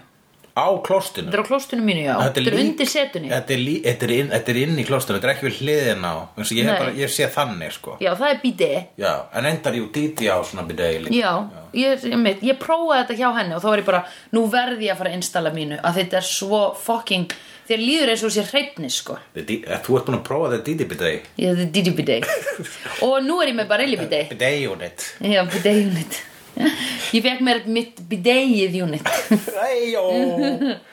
Speaker 1: á klóstinu.
Speaker 2: þetta er á klóstinu mínu já, þetta er
Speaker 1: lík-
Speaker 2: undir setunni
Speaker 1: Þetta er, lí- þetta, er inn, þetta er inn í klóstinu, þetta er ekki við hliðina á. Þessi, Ég, hef
Speaker 2: Nei.
Speaker 1: bara, ég sé þannig, sko.
Speaker 2: já það er bíti
Speaker 1: Já, en endar jú díti á svona bidet líka.
Speaker 2: já, ég, ég, mitt, ég prófaði þetta hjá henni og þá var ég bara, nú verði ég að fara að installa mínu að þetta er svo fucking þér líður eins og sér hreitni sko
Speaker 1: Þetta dí- eh, Þú ert búin að prófa þetta díti bidet.
Speaker 2: Ég hefði Didi Bidet Og nú er ég með Barelli Bidet
Speaker 1: Bidet unit.
Speaker 2: Já, Bidet unit Ég fekk mér mitt Bidetið unit
Speaker 1: Æjó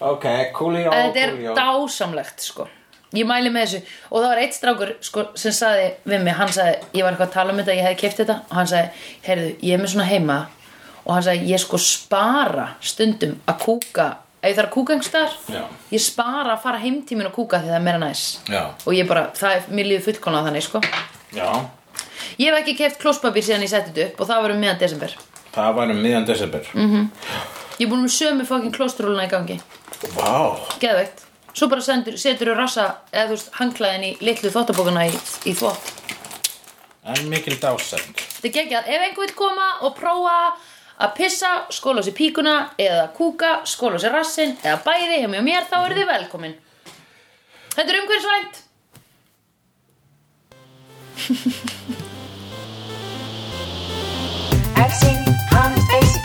Speaker 1: Ok, kúljó,
Speaker 2: Þetta er
Speaker 1: kúljó
Speaker 2: dásamlegt, sko Ég mæli með þessu Og það var eitt strákur sko, sem saði við mig Hann sagði, ég var eitthvað að tala um þetta, ég hefði keft þetta Og hann sagði, heyrðu, ég er með svona heima Og hann sagði, ég sko spara stundum að kúka Ef ég þarf að kúka einhverstaðar
Speaker 1: Já.
Speaker 2: Ég spara að fara heimtímin og kúka því það er meira næs
Speaker 1: Já.
Speaker 2: Og ég bara, það er, mér líður fullkona þannig, sko
Speaker 1: Já,
Speaker 2: Ég hef ekki keft klóspapir síðan ég setti þetta upp og það var um miðan desember.
Speaker 1: það var um miðjan desember
Speaker 2: Ég er búin með sömu fokkin klóstrúluna í gangi.
Speaker 1: Vá,
Speaker 2: Geðveikt. Svo bara sendur, setur þú rassa, eða þú veist, hanglaðin í litlu þvottabókuna í, í þvott.
Speaker 1: en mikil dásend
Speaker 2: Þetta er geggjað. Ef einhver vil koma og prófa að pissa, skóla sér píkuna eða kúka, skóla sér rassin eða bæði hjá mjög mér, þá eru þið velkomin. Þetta er umhverfisvænt.
Speaker 3: I've seen honest faces